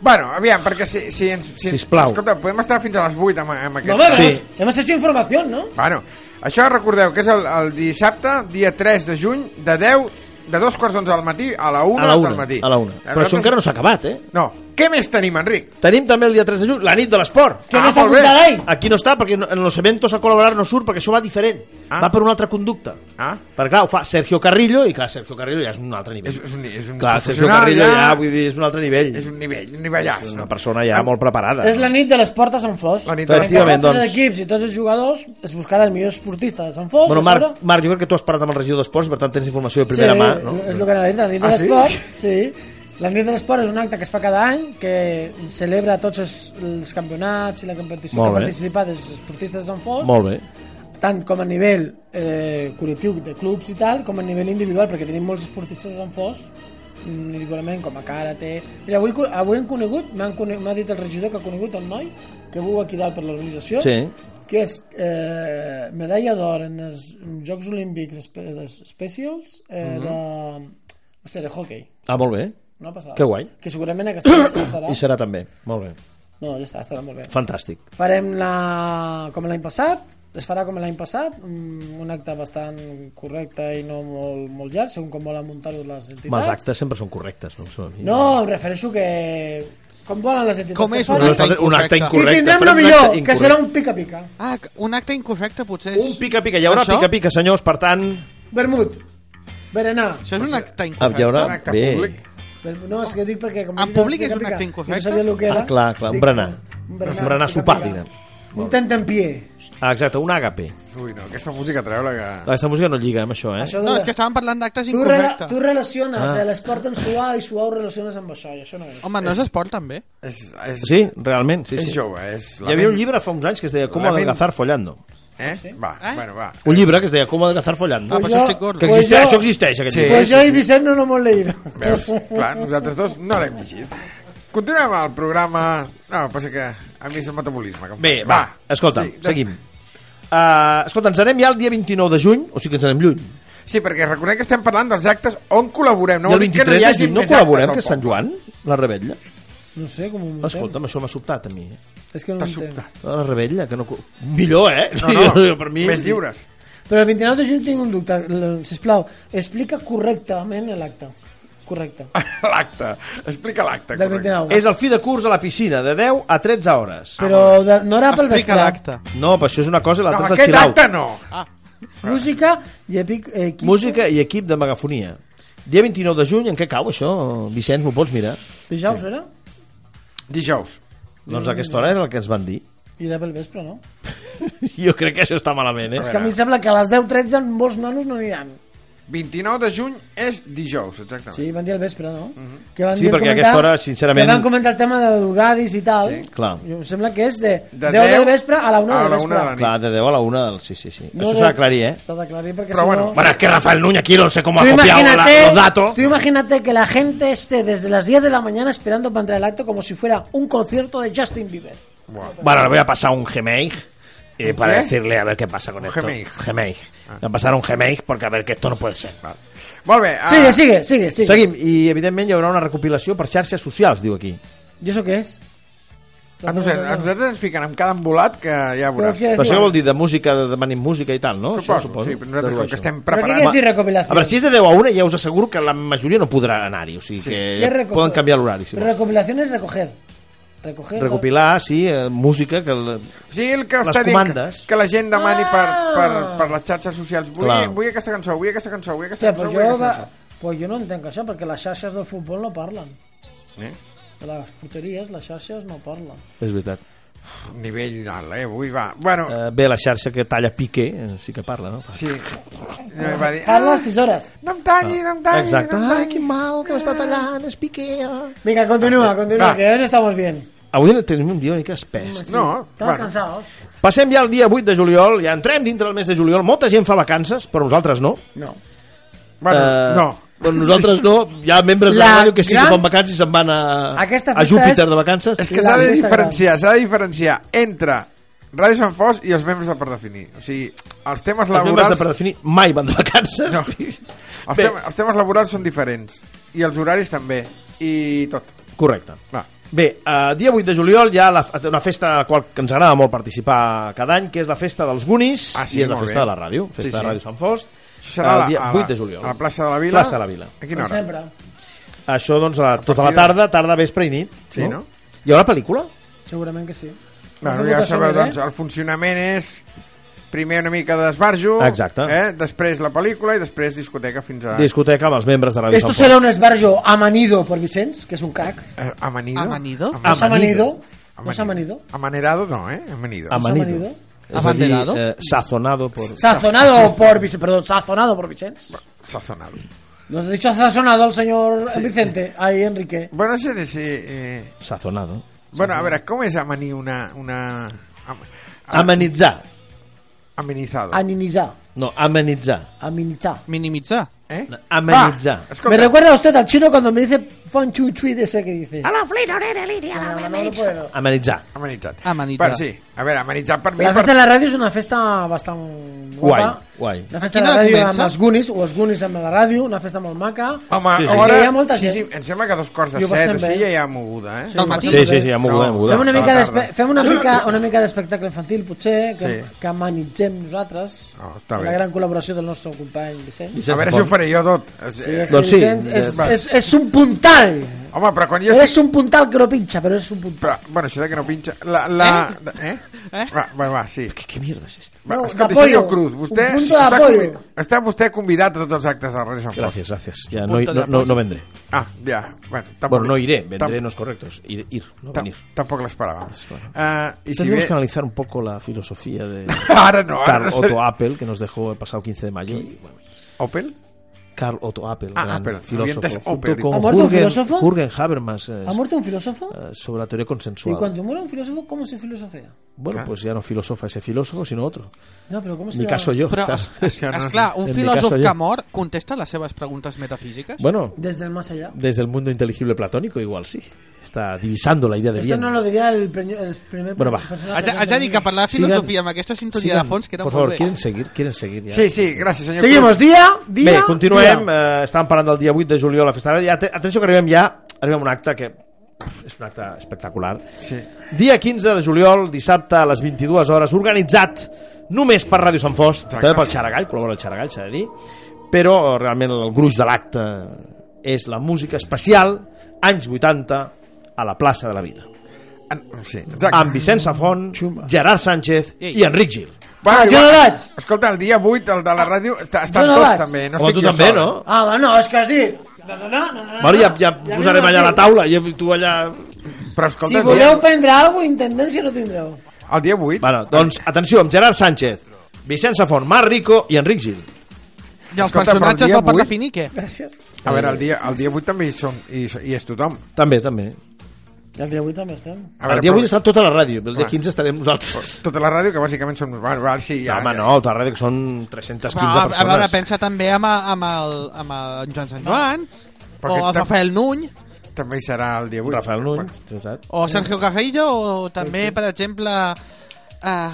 A: Bueno, aviam, perquè si... si, ens, si
C: Sisplau.
A: Escolta, podem estar fins a les 8 amb, amb
D: No,
A: aquest...
D: bueno,
C: Sí.
D: hemos, hemos hecho información, ¿no?
A: Bueno, això recordeu que és el, el dissabte, dia 3 de juny, de 10, de dos quarts d'onze del matí a la 1
C: A la
A: del
C: una.
A: matí.
C: A la una. Però això encara no s'ha acabat, eh?
A: No, Què més tenim, Enric?
C: Tenim també el dia 3 de juny, la nit de l'esport.
D: Que no
A: Ah,
D: está
A: molt bé.
D: Bucaray.
C: Aquí no està, perquè no- en els eventos a col·laborar no surt, perquè això va diferent.
A: Ah.
C: Va per una altra conducta.
A: Ah.
C: Perquè, clar, ho fa Sergio Carrillo, i clar, Sergio Carrillo ja és un altre nivell.
A: És- és un- és un
C: clar, Sergio
A: professional,
C: Carrillo
A: ja.
C: ja, vull dir, és un altre nivell.
A: És un nivell, un nivellàs.
C: És una persona ja molt preparada.
D: És la nit de l'esport a Sant Fos.
A: La nit de
D: Perquè
C: l'esport.
D: tots els
C: Doncs-
D: equips i tots els jugadors es buscaran els millors esportistes de Sant Fos.
C: Bueno,
D: a sobre-
C: Marc, Marc, jo crec que tu has parlat amb el regidor d'esports, per tant tens informació de primera
D: sí,
C: mà, no?
D: És el que anava a dir, la nit
A: Ah,
D: de
A: sí?
D: l'esport. Sí? La nit de l'esport és un acte que es fa cada any que celebra tots els, els campionats i la competició
C: Molt
D: que
C: bé.
D: han participat els esportistes de Sant Fos,
C: Molt bé.
D: tant com a nivell eh, col·lectiu de clubs i tal, com a nivell individual, perquè tenim molts esportistes de Sant Fos, mm, individualment com a karate... Mira, avui, co- avui hem conegut, m'han cone- m'ha dit el regidor que ha conegut el noi, que viu aquí dalt per l'organització,
C: Sí.
D: que és eh, medalla d'or en els Jocs Olímpics espe des- Specials eh,
C: Mhm.
D: de, hòstia, de hockey.
C: Ah, molt bé.
D: No passada.
C: Que guai.
D: Que segurament [COUGHS] aquest any estarà.
C: I serà també. Molt bé.
D: No, ja està, estarà molt bé.
C: Fantàstic.
D: Farem la, com l'any passat, es farà com l'any passat, mm, un, un acte bastant correcte i no molt, molt llarg, segons com volen muntar-ho les entitats.
C: Els actes sempre són correctes, no? Són-
D: No, em refereixo que com volen les entitats
E: Com
D: que
E: és
D: fan.
E: un acte
C: Nosaltres- un acte
D: I
C: incorrecte.
D: tindrem
C: farem
D: lo
C: un
D: millor,
C: acte
D: que serà
C: incorrecte.
D: un pica-pica.
E: Ah, un acte incorrecte, potser. És...
C: Un pica-pica, hi haurà
E: Això?
C: pica-pica, senyors, per tant...
D: Vermut. Berenar.
E: Això és un acte
I: Ah,
E: incorrecte.
I: hi haurà...
A: Un acte
I: Bé.
A: públic.
D: Vermut. No, és que dic perquè... Com
E: En
D: he dit abans,
E: públic és un
D: pica-pica,
E: acte
D: jo
E: incorrecte?
D: No sabia lo que era.
C: Ah, clar, clar, un
D: Dic,
C: berenar.
D: Un
C: Un berenar sopar,
D: pica-pica.
C: diguem.
D: Un tentempié.
C: Ah, exacte, un àgape. Ah,
A: Ui, no, aquesta música treu-la que...
C: Aquesta música no lliga amb això, eh?
D: Això de-
E: No, és que estàvem parlant d'actes
D: Tu, rela
E: incorrectes.
D: tu relaciones ah. l'esport amb suar i suar ho relaciones amb això, i això no és.
E: Home, no és esport, també?
A: És, és,
C: Sí, realment, sí,
A: és
C: sí.
A: jove, és...
C: Hi havia un llibre fa uns anys que es deia Com
A: Lament.
C: adelgazar follando.
A: Eh? Va,
D: Ah.
E: Eh?
A: bueno, va.
C: Un llibre que es deia Com adelgazar follando.
E: Ah, però això estic gordo.
C: Que
D: pues
C: existeix,
D: jo-
C: això existeix, aquest
A: Sí.
C: llibre.
D: Pues jo i Vicent no l'hem leído.
A: Veus? Clar, nosaltres dos no l'hem llegit. Continuem el programa... No, passa que a mi és el metabolisme. Que em fa.
C: Bé, va, escolta,
A: Sí, doncs-
C: seguim. Uh, escolta, ens anem ja el dia 29 de juny, o sigui que ens anem lluny.
A: Sí, perquè recordem que estem parlant dels actes on col·laborem. No
C: I
A: vol
C: el
A: dir que no
C: 23
A: hi
C: de
A: hagi
C: juny no
A: més
C: col·laborem, que
A: actes al
C: és Sant
A: poble.
C: Joan, la rebetlla.
D: [LAUGHS] No sé com ho entenc.
C: Escolta, això m'ha sobtat a mi. eh?
D: És que no
A: T'ha
D: ho entenc.
A: sobtat.
C: La rebetlla, que no... co- Millor, eh? [LAUGHS]
A: No, no,
C: Jo, per mi...
A: més lliures.
D: Però el 29 de juny tinc un dubte, l- sisplau, explica correctament l'acte.
C: [LAUGHS]
D: Correcte.
A: L'acte. Explica l'acte.
D: Del
A: correcte.
D: 29.
C: És el Ah, fi de curs a la piscina, de 10 a 13 hores.
D: Però de, no era pel
E: Explica
D: vespre.
E: l'acte.
C: No, però això és una cosa i
A: No,
C: l'altra és el
A: aquest
C: chill out.
A: acte no.
D: Música i epic, eh, equip.
C: Ah. Música i equip de megafonia. Dia 29 de juny, en què cau això? Vicenç, m'ho pots mirar?
D: Dijous era?
A: Dijous.
C: Doncs a aquesta hora és el que ens van dir. [LAUGHS]
D: I era pel vespre, no?
C: Jo crec que això està malament,
D: És
C: eh?
D: que a mi em sembla que a les 10-13 molts nanos no aniran.
A: 29 de juny és dijous, exactament.
D: Sí, van dir al vespre, no? que van
C: Mhm. Sí,
D: dir-
C: perquè a aquesta hora, sincerament-
D: Que van comentar el tema d'horaris i tal. Sí,
C: clar.
D: Em sembla que és de,
A: De
D: 10, del
A: 10
D: vespre a la 1
A: a
D: del
A: la
D: vespre.
A: 1 de la nit.
C: Clar, de 10 a la 1 del... Sí, sí, sí.
D: No
C: això
D: de-
C: s'ha d'aclarir, eh?
D: S'ha d'aclarir perquè
A: Però
D: si
A: bueno,
D: no...
I: Bueno, es que Rafael Núñez aquí no sé cómo
D: Tú
I: ha copiado la- los
D: imagínate,
I: datos.
D: tú imagínate que la gente esté desde las 10 de la mañana esperando para entrar al acto como si fuera un concierto de Justin Bieber.
I: Bueno, le voy a pasar un Gmail eh, para
A: qué?
I: decirle a ver qué pasa con
A: Un
I: esto.
A: Gmail.
I: Gmail.
C: Ah.
I: Le voy a pasar un Gmail porque a ver que esto no puede ser.
A: Molt bé. ah,
D: Sigue, sigue, sigue, sigue.
C: Seguim, i evidentment hi haurà una recopilació per xarxes socials, diu aquí.
D: ¿Y eso qué es?
A: A nosaltres, a nosaltres ens fiquen amb cada embolat que ja
D: Però
A: veuràs.
D: què-
C: Però això què vol dir? De música, de demanin música i tal, no?
A: Suposo,
C: Això,
A: sí, però nosaltres
C: Deu
A: com
C: això.
A: que estem
D: ¿Pero qué quiere
A: preparats...
D: decir
C: A
D: recopilación?
C: veure, si és de 10 a 1, ja us asseguro que la majoria no podrà anar-hi, o sigui
D: ¿Qué es
C: que
D: reco-
C: poden canviar l'horari. Si
D: Pero
C: volen.
D: recopilación es recoger. Recoger.
C: Recopilar, sí, eh, música, que... el-
A: Sí, el que
C: Les
A: està dient que,
C: comandes.
A: que la gent demani per,
D: Ah!
A: per, per les xarxes socials. Vull,
C: Clar.
A: vull aquesta cançó, vull aquesta cançó, vull aquesta
D: Hòstia,
A: cançó,
D: pues
A: vull
D: yo,
A: aquesta
D: va- pues yo no entiendo eso porque las xarxes del fútbol no parlan.
A: cançó. Eh?
D: Las puterías, las xarxes no parlan.
C: És veritat.
A: Nivell alt, eh? Avui va. Bueno,
C: Eh, Bé, la xarxa que talla Piqué, eh, sí que parla, no?
A: sí. Eh, Va dir,
D: Parla las tisores.
A: no em talli, no em talli,
C: Exacte.
A: no em
C: Ai,
A: talli.
C: que mal, que m'està tallant, és Piqué. ah.
D: Venga, continúa, continúa,
A: Va.
D: que hoy no estamos bien.
C: Avui tenim un dia una mica espès.
D: Estamos
A: No, bueno,
D: cansados.
C: Passem ja al dia 8 de juliol, ja entrem dintre del mes de juliol. Molta gent fa vacances, però nosaltres no.
A: no. Bueno,
C: Eh,
A: no.
C: Però nosaltres no. Hi ha membres de
D: La
C: la ràdio que sí
D: gran-
C: que fan vacances i se'n van a,
D: Aquesta
C: a
D: festa
C: Júpiter
D: és-
C: de vacances.
A: [LAUGHS] És que
D: la
A: s'ha de
D: resta
A: diferenciar, s'ha de diferenciar entre Ràdio Sant Fos i els membres de per definir. O sigui, els
C: Els membres
A: temes
C: de
A: laborals...
C: predefinir mai van de vacances.
A: No. Els,
C: Bé.
A: temes, els temes laborals són diferents. I els horaris també. I tot.
C: Correcte.
A: Va.
C: Bé, eh, dia 8 de juliol hi ha la, una festa a la qual ens agrada molt participar cada any, que és la festa dels Gunis,
A: Ah, sí,
C: i és la
A: molt
C: festa
A: bé.
C: de la ràdio, festa
A: Sí, sí.
C: de Ràdio Sant Fost,
A: Això serà
C: el
A: la- ah,
C: dia
A: a la-
C: 8 de juliol.
A: a la plaça de la Vila.
D: Pues
C: Plaça de la Vila.
A: A quina hora?
D: Sempre.
C: Això, doncs, a, tota la
A: partir de-
C: tarda, tarda, vespre i nit.
A: Sí, no?
C: Hi haurà pel·lícula?
D: Segurament que sí.
A: Bueno,
D: Una
A: ja
D: mica
A: sabeu,
D: sobre,
A: doncs, el funcionament és primer una mica d'esbarjo,
C: Exacte.
A: eh? després la pel·lícula i després discoteca fins a...
C: Discoteca amb els membres de Ràdio
D: Esto
C: Sant
D: será un esbarjo amanido por Vicenç, que es un crack.
A: Eh, amanido.
E: Amanido?
D: ¿No es amanido?
C: Amanido.
D: ¿No es amanido?
A: Amanerado no, eh? Amanido.
C: Am-
D: ¿No es
C: Amanido.
D: amanido?
C: Pau. És a dir,
E: Abanderado.
C: eh, sazonado por...
D: Sazonado por Vicenç, perdón, sazonado por Vicenç.
A: Sazonado.
D: Nos ha dicho sazonado el señor Vicente, ahí Enrique.
A: Bueno, no sé si... Eh...
C: Sazonado.
A: Bueno, a veure, com és amanir una... una... am- a-
C: Amenitzar.
A: Amenizado.
D: Aninizá,
C: No, amenitzar.
D: aminizá.
E: Minimitzar.
A: Eh?
C: Amenitzar.
A: Va,
D: Me
A: escolta,
D: recuerda usted al chino cuando me dice fan chu chui de ese que dice.
H: A la flina, nene, Lídia, la
D: No,
H: meva
D: no, no
H: merda.
D: puedo.
C: Amenitzar.
A: amenitzat.
E: Amenitzat.
A: Per, sí. A veure, amenitzat per mi...
D: La
A: per...
D: festa de la ràdio és una festa bastant guapa.
C: Guai, guai.
D: La festa de
E: Quina
D: la
E: hora
D: ràdio
E: comença?
D: amb els Goonies, o els Goonies amb la ràdio, una festa molt maca.
A: Home,
C: Sí, sí.
A: sí, sí. ara...
D: Hi ha molta
A: sí, sí,
D: gent.
A: em sembla que a dos quarts de
D: I ho
A: set, o
D: passem
A: sigui,
D: bé.
A: ja hi ha moguda, eh?
D: Sí,
E: Al matí.
D: sí,
C: Sí, sí, sí, ha moguda,
A: No.
C: ha moguda.
D: Fem una
A: de la
D: mica,
A: tarda.
D: d'espe- fem una mica, una mica d'espectacle infantil, potser, que,
A: Sí.
D: que amenitzem nosaltres.
A: Oh, està
D: amb
A: bé.
D: la gran col·laboració del nostre company Vicenç.
A: A veure si ho faré jo tot. Eh, Sí,
D: És que
C: Doncs sí,
D: Vicenç és,
A: va.
D: és, és un puntal.
A: Home, però quan jo estic...
D: Eres un puntal que no pinxa, però és un puntal.
A: Però, bueno, això de que no pinxa... La, la... Eh? eh? Va, va, va, sí.
C: Què, què mierda és esta?
A: Va,
D: No,
A: escolti,
D: d'apollo.
A: senyor Cruz, vostè
D: Un punto
A: està,
D: d'apollo.
A: convi- està vostè convidat a tots els actes de Ràdio Sant Fos.
C: Gràcies, gràcies. Ja, no, no, no, no vendré.
A: Ah, ja. Bueno, tampoc,
C: Bueno, no iré. Vendré
A: tam-
C: no es correcto. Es ir, ir no
A: tam-
C: venir.
A: Tampoc l'esperàvem.
C: Espera.
A: Uh, I si
C: Tenemos
A: bé...
C: que analizar un poco la filosofía de
A: [LAUGHS] Ara [LAUGHS] no,
C: Carl
A: ara
C: Otto
A: no.
C: Apple, que nos dejó el pasado 15 de mayo. Y, bueno,
A: Opel?
C: Carl Otto Apple,
A: Ah,
C: gran
A: Apple.
C: filósofo,
A: Ambientes
C: junto
A: Opel.
C: con
D: ¿Ha muerto un
C: Jürgen,
D: filósofo?
C: Jürgen Habermas, eh,
D: ¿Ha muerto un filósofo?
C: eh, sobre la teoría
D: Y
C: consensual.
D: cuando muere un filósofo, ¿cómo se filosofía?
C: Bueno, pues ya no filosofa ese filósofo, sino otro.
D: No, pero ¿cómo se
C: Mi
D: llama?
C: caso yo.
E: Però,
C: claro.
A: Això no
E: esclar, un
C: En mi
E: filòsof
C: caso, jo.
E: que mor contesta les seves preguntes metafísiques?
C: [LAUGHS] Bueno,
D: Desde el más allá.
C: desde el mundo inteligible platónico igual sí. Está divisando la idea de
D: Esto
C: bien.
D: no lo diría el, preño- el primer
C: Bueno, va.
D: personaje
E: Haig,
D: que
E: haig de dir que per la
C: Sigan.
E: filosofia amb aquesta sintonia
C: Sigan,
E: de fons queda
C: por
E: molt
C: favor,
E: bé.
C: quieren seguir, quieren seguir ya.
A: Sí, sí, gràcies, senyor
D: Seguimos,
A: Cruz.
D: dia, dia...
C: Bé, continuem. Eh, estàvem parlant del dia 8 de juliol a la festa. Ara, ja, te- atenció que arribem ja, arribem a un acte que pff, és un acte espectacular.
A: Sí.
C: Dia 15 de juliol, dissabte a les 22 hores, organitzat només per Ràdio Sant Fost,
A: Exacte.
C: també pel Xaragall, col·labora el Xaragall, s'ha de dir, però eh, realment el gruix de l'acte és la música especial, anys 80, a la plaça de la Vila.
A: En, Ah, sí, exacte.
C: Amb Vicenç Safont, Gerard Sánchez i Enric Gil.
A: Bueno,
D: Ah, jo
A: igual-
D: no vaig.
A: Escolta, el dia 8, el de la ràdio, està, estan
D: Jo no
A: tots
D: vaig.
A: també. No
C: Home,
A: estic
C: tu
A: jo
C: també,
A: sol. eh?
C: no?
D: Ah, va, no, és que has dit... No, no, no, no, no.
C: Bueno, ja, ja
D: Ja
C: posarem allà la
D: m'imagino.
C: taula i tu allà
A: Però escolta,
D: Si
A: el,
D: voleu
A: dia,
D: prendre alguna cosa, intendència no tindreu.
A: el dia 8...
C: Bueno, doncs, atenció, amb Gerard Sánchez, Vicenç Safont, Marc Rico i Enric Gil.
E: I els
A: Escolta, però el
E: personatges
A: dia
E: del
A: vuit-
E: Parrafini, què?
D: Gràcies.
A: A veure, el dia, el dia 8 també hi som, hi, hi és tothom.
C: També, també.
D: El dia 8 també estem.
A: A veure,
C: el dia
A: però-
C: 8 està tota la ràdio, però el dia
A: Clar.
C: 15 estarem nosaltres.
A: Tota la ràdio, que bàsicament som... Bueno, val, sí,
C: Ja,
A: ja,
C: Home,
A: ja.
C: no, tota la ràdio, que són 315
E: Va, a, a
C: persones.
E: veure, pensa també amb, amb, el, amb el Joan Sant Joan, o
A: Perquè
E: el
A: tam-
E: Rafael Nuny,
A: També hi serà el dia 8.
C: Rafael Nuny,
A: Bueno,
C: bueno.
E: o Sergio Carrillo, o també, per exemple... Uh,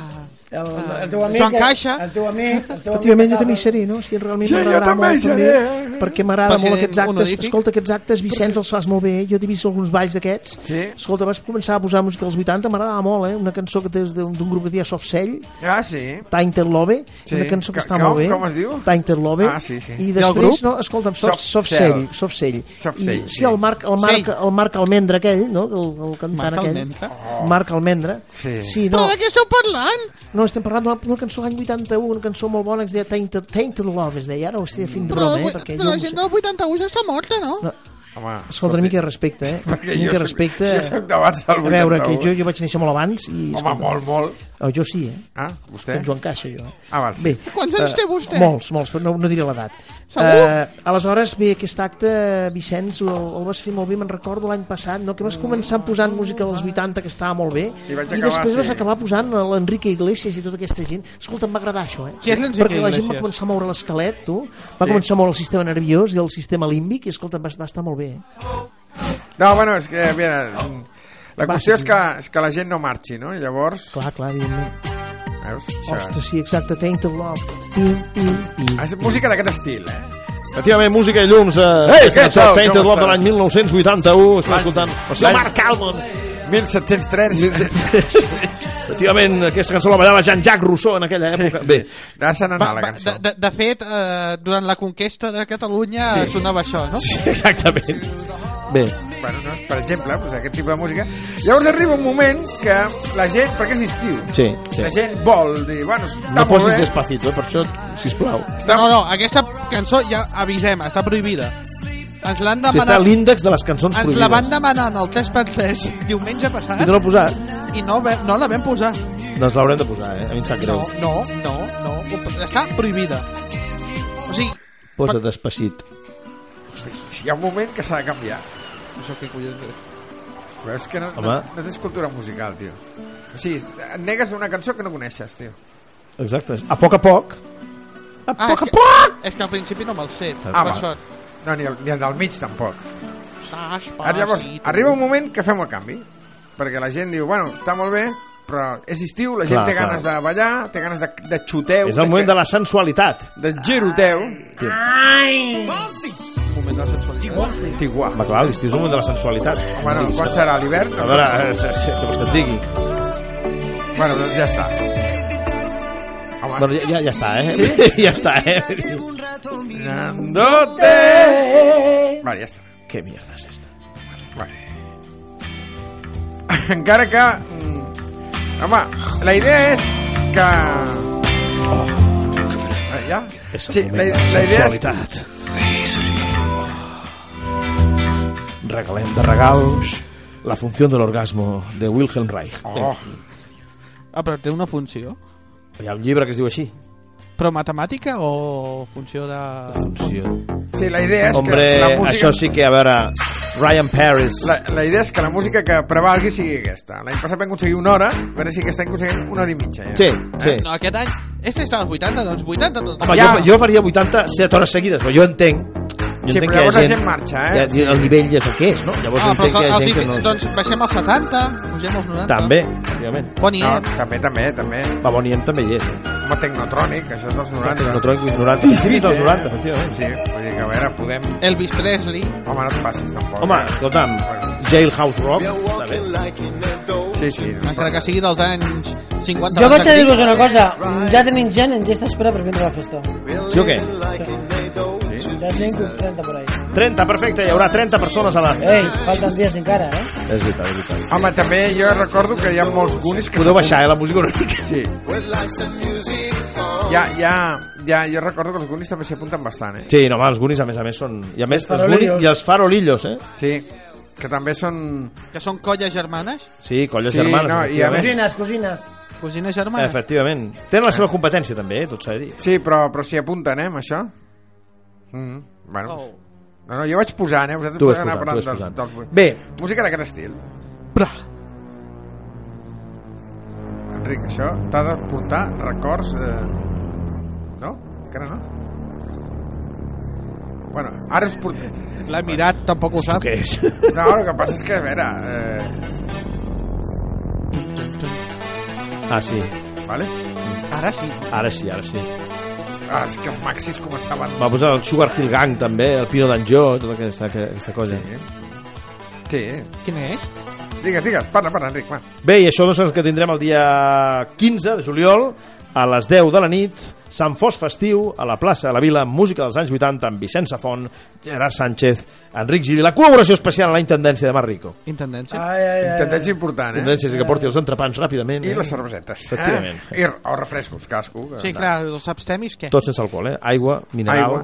D: El, el teu amic...
E: Joan Caixa.
D: El teu amic... El teu amic
F: Efectivament, jo
D: estava-
F: també hi seré, no? Si realment
A: Sí, jo
F: m'agradarà
A: també hi
F: molt, també,
A: seré.
F: perquè m'agrada
E: President
F: molt aquests actes.
E: honorífic.
F: Escolta, aquests actes, Vicenç, els fas molt bé, eh? Jo t'he vist alguns balls d'aquests.
A: Sí.
F: Escolta, vas començar a posar música als 80, m'agradava molt, eh? Una cançó que des d'un d'un grup que es deia Soft Cell,
A: Ah, sí.
F: Tainter Love,
A: Sí.
F: una cançó que
A: Que-
F: està
A: com-
F: molt bé.
A: com es diu?
F: Tainter Love.
A: Ah, sí, sí. I
F: I
E: el
F: després,
E: grup?
F: no, escolta'm, Soft,
A: Soft
F: soft
A: Cell.
F: Cell. Soft Cell.
A: Soft
F: I,
A: Cell,
F: sí, el Marc, el Marc,
E: Cell.
F: el Marc Almendra aquell, no? El, el cantant
E: Marc
F: aquell.
E: Almendra?
F: Marc Almendra.
A: Oh. Sí.
F: sí
E: Però
F: no.
E: de què esteu parlant?
F: No, estem parlant d'una d'una cançó de l'any 81, una cançó molt bona que es deia Tainted, Tainted Love, es deia, ara ho estic fent
E: Mm. Però,
F: broma, eh?
E: però,
F: Perquè
E: la
F: no
E: gent
F: no...
E: del 81 ja està morta, no?
F: No.
A: Home,
F: Escolta, una mica de respecte, eh? Una
A: Perquè
F: mica
A: jo
F: de respecte...
A: Soc, jo soc d'abans del
F: A veure, que
A: 81.
F: jo, jo vaig néixer molt abans i...
A: Home,
F: escolta,
A: molt, molt.
F: Oh, jo sí, eh?
A: Ah, vostè?
F: Com Joan Caixa, jo. eh?
A: Ah, val, sí.
F: Bé,
E: Quants anys
F: eh,
E: té vostè?
F: Molts, molts, però no, no diré l'edat.
E: Segur?
F: Eh, aleshores, bé, aquest acte, Vicenç, el, el vas fer molt bé, me'n recordo l'any passat, no? que vas començar posant música dels 80, que estava molt bé,
A: I vaig
F: i
A: acabar,
F: després vas
A: sí.
F: acabar posant l'Enrique Iglesias i tota aquesta gent. Escolta, em va agradar això, eh?
E: Qui és l'Enrique
F: Perquè la gent va
E: Iglesias?
F: començar a moure l'esquelet, tu. Va començar a moure el sistema nerviós i el sistema límbic, i escolta, va, va estar molt bé. Eh?
A: No, bueno, és que, mira... La qüestió és que, és que la gent no marxi, no? Llavors,
F: Clar, clar, evidentment.
A: veus?
F: Ostres, sí, exacte, Tainted Love. Pim, pim, pim.
A: És música d'aquest estil, eh?
C: Efectivament, música i llums. Eh,
A: Ei,
C: aquesta
A: què
C: cançó,
A: tal?
C: Tainted
A: Com
C: Love de
A: estàs?
C: l'any 1981. Estem escoltant... O sigui, Marc [LAUGHS] Calvon.
A: 1703...
C: Efectivament, aquesta cançó la ballava Jean-Jacques Rousseau en aquella època. Bé,
A: Ja se n'anà
E: Va,
A: la
E: va, de,
A: cançó.
E: de, de fet, eh, durant la conquesta de Catalunya sonava això, no?
C: sí, [LAUGHS] exactament. Bé,
A: Bueno, no, per exemple, doncs aquest tipus de música. Llavors arriba un moment que la gent... Perquè és estiu.
C: sí, sí.
A: La gent vol dir, bueno, està
C: No
A: molt
C: posis
A: bé.
C: despacito, eh, per això, sisplau.
A: Està...
E: No, no, aquesta cançó ja avisem, està prohibida. Ens l'han
C: Si està a
E: demanat...
C: l'índex de les cançons
E: ens la van
C: prohibides.
E: demanar en el 3x3 diumenge passat
C: I no l'ha posat?
E: i no, ve- no la vam posar.
C: Doncs l'haurem de posar, eh? A mi em sap
E: No,
C: greu.
E: no, no, no. Està prohibida. O sigui,
C: Posa despacit.
A: Hi ha un moment que s'ha de canviar.
E: això que collons és?
A: Però és que no, no,
C: Home.
A: no tens cultura musical, tio. O sigui, et negues una cançó que no coneixes, tio.
C: Exacte. A poc a poc. A
E: Ah,
C: poc
E: és
C: a
E: que-
C: poc!
E: És que al principi no me'l sé.
C: Ah,
E: per
A: va.
E: sort. Ah,
A: No, ni el, ni el del mig tampoc.
E: Saps,
C: Ah,
A: Ara, llavors,
E: passi, tu.
A: arriba un moment que fem el canvi. Perquè la gent diu, bueno, està molt bé, però és estiu, la gent
C: Clar,
A: té ganes
C: clar.
A: de ballar, té ganes de, de xuteu,
C: És el moment de la sensualitat.
A: de geroteu.
E: moment de sensualitat.
A: Tiguà.
C: Va, clar, l'estiu és el moment de la sensualitat.
A: Bueno, quan serà? A l'hivern?
C: A veure, eh, sí, sí, què vols que et digui?
A: Bueno, doncs ja està. Home,
C: Bueno, ja, ja, ja està, eh? [LAUGHS] ja està, eh?
A: no té... Vale, ja està.
C: Què mierda és esta?
A: Vale. [LAUGHS] Encara que... mm, Home, la idea és que... Eh, Ja?
C: És el
A: Sí, la,
C: moment de
A: la idea és
C: sensualitat. Regalem de regal la funció de l'orgasmo de Wilhelm Reich.
A: Oh,
E: Ah, però té una funció.
C: Hi ha un llibre que es diu així.
E: Però matemàtica o funció de...
C: Funció.
A: sí, la idea és
C: Hombre,
A: que la música...
C: això sí que, a veure... Ryan Paris.
A: La, la idea és que la música que prevalgui sigui aquesta. L'any passat vam aconseguir una hora, a veure si aquest any aconseguim una hora i mitja. Ja.
C: Sí, sí.
A: Eh?
E: No, aquest any... Este està als 80, doncs 80 tot.
C: Home,
A: Ja.
C: jo, jo faria 87 hores seguides, però jo entenc... Jo
A: Sí,
C: entenc que hi
A: però
C: ha
A: llavors la gent marxa, eh?
C: hi ha- El nivell ja és el que és, no? Llavors
E: Ah,
C: jo
E: però
C: entenc que hi ha
E: els,
C: gent que no...
E: els, doncs baixem als 70, pugem als 90.
C: També, òbviament.
E: Bon
A: No,
E: no.
A: també, també, també.
C: Va, Bon Iem també hi és. Eh?
A: Home, Tecnotronic, això és dels 90.
C: No trobo 90. Sí, sí, dels 90, efectivament.
A: Sí, vull dir que a veure, podem...
E: Elvis Presley.
A: Home, no et passis, tampoc.
C: Home,
A: eh?
C: escolta'm, Jailhouse Rock, està bé.
A: Sí, sí. doncs,
E: Encara que sigui dels anys 50.
D: Jo vaig a dir-vos una cosa, ja tenim gent en gesta espera per vindre a la festa.
C: Jo què?
D: Ja tenim uns 30 per ahí.
C: 30, perfecte, hi haurà 30 persones a la...
D: Ei, falten dies encara, eh?
C: És veritat, és veritat.
A: Home, també jo recordo que hi ha molts gunis que...
C: Podeu baixar, eh, la música una mica.
A: Sí. Ja, ja, ja, jo recordo que els gunis també s'hi apunten bastant, eh?
C: Sí, no, home, els Goonies, a més a més, són... I a més, els Goonies
D: farolillos.
C: i els farolillos, eh?
A: Sí. Que també són...
E: Que són colles germanes,
C: Sí, colles
A: Sí,
C: germanes.
A: no, i a
C: efectivament.
A: més-
D: Cosines, cosines.
E: cosines
C: Eh,
E: germanes.
C: Efectivament. Tenen la seva competència, també, eh? tot s'ha de dir.
A: Sí, però, però s'hi apunten, eh, amb això? Mm, bueno,
E: Oh.
A: No, no, jo vaig posant, eh? Vosaltres
C: Tu vas
A: podeu anar
C: posant, tu vas
A: parlant
C: posant.
A: dels, dels...
C: Bé,
A: Música d'aquest estil.
E: Bra.
A: Enric, això t'ha de portar records de... No? Encara no? Bueno, ara us portem...
E: L'ha mirat, tampoc ho
C: tu
E: sap.
C: què és?
A: No, el que passa és que, a veure... Eh,
C: [LAUGHS] Ah, sí.
A: vale?
E: Ara sí.
C: Ara sí, ara sí.
A: Ah, és que els maxis començaven...
C: Va posar el Sugar Hill Gang, també, el Pino d'Anjó, tota aquesta, aquesta cosa.
A: Sí. Sí.
E: Quin és?
A: Digues, digues, parla, parla, Enric, va.
C: Bé, i això doncs és el que tindrem el dia 15 de juliol, a les 10 de la nit, Sant Fos Festiu, a la plaça de la Vila, amb música dels anys 80, amb Vicent Safont, Gerard Sánchez, Enric Gili, la col·laboració especial a la Intendència de Marrico.
A: Ah,
E: Intendència.
D: Ai, ai, ai.
A: Intendència important, eh?
C: Intendència és que porti els entrepans ràpidament.
A: I
C: eh?
A: les cervesetes.
C: Efectivament.
A: Eh? I, o refrescos, cadascú. que-
E: Sí, clar, els abstemis, què?
C: Tot sense alcohol, eh? Aigua, mineral,
A: Aigua.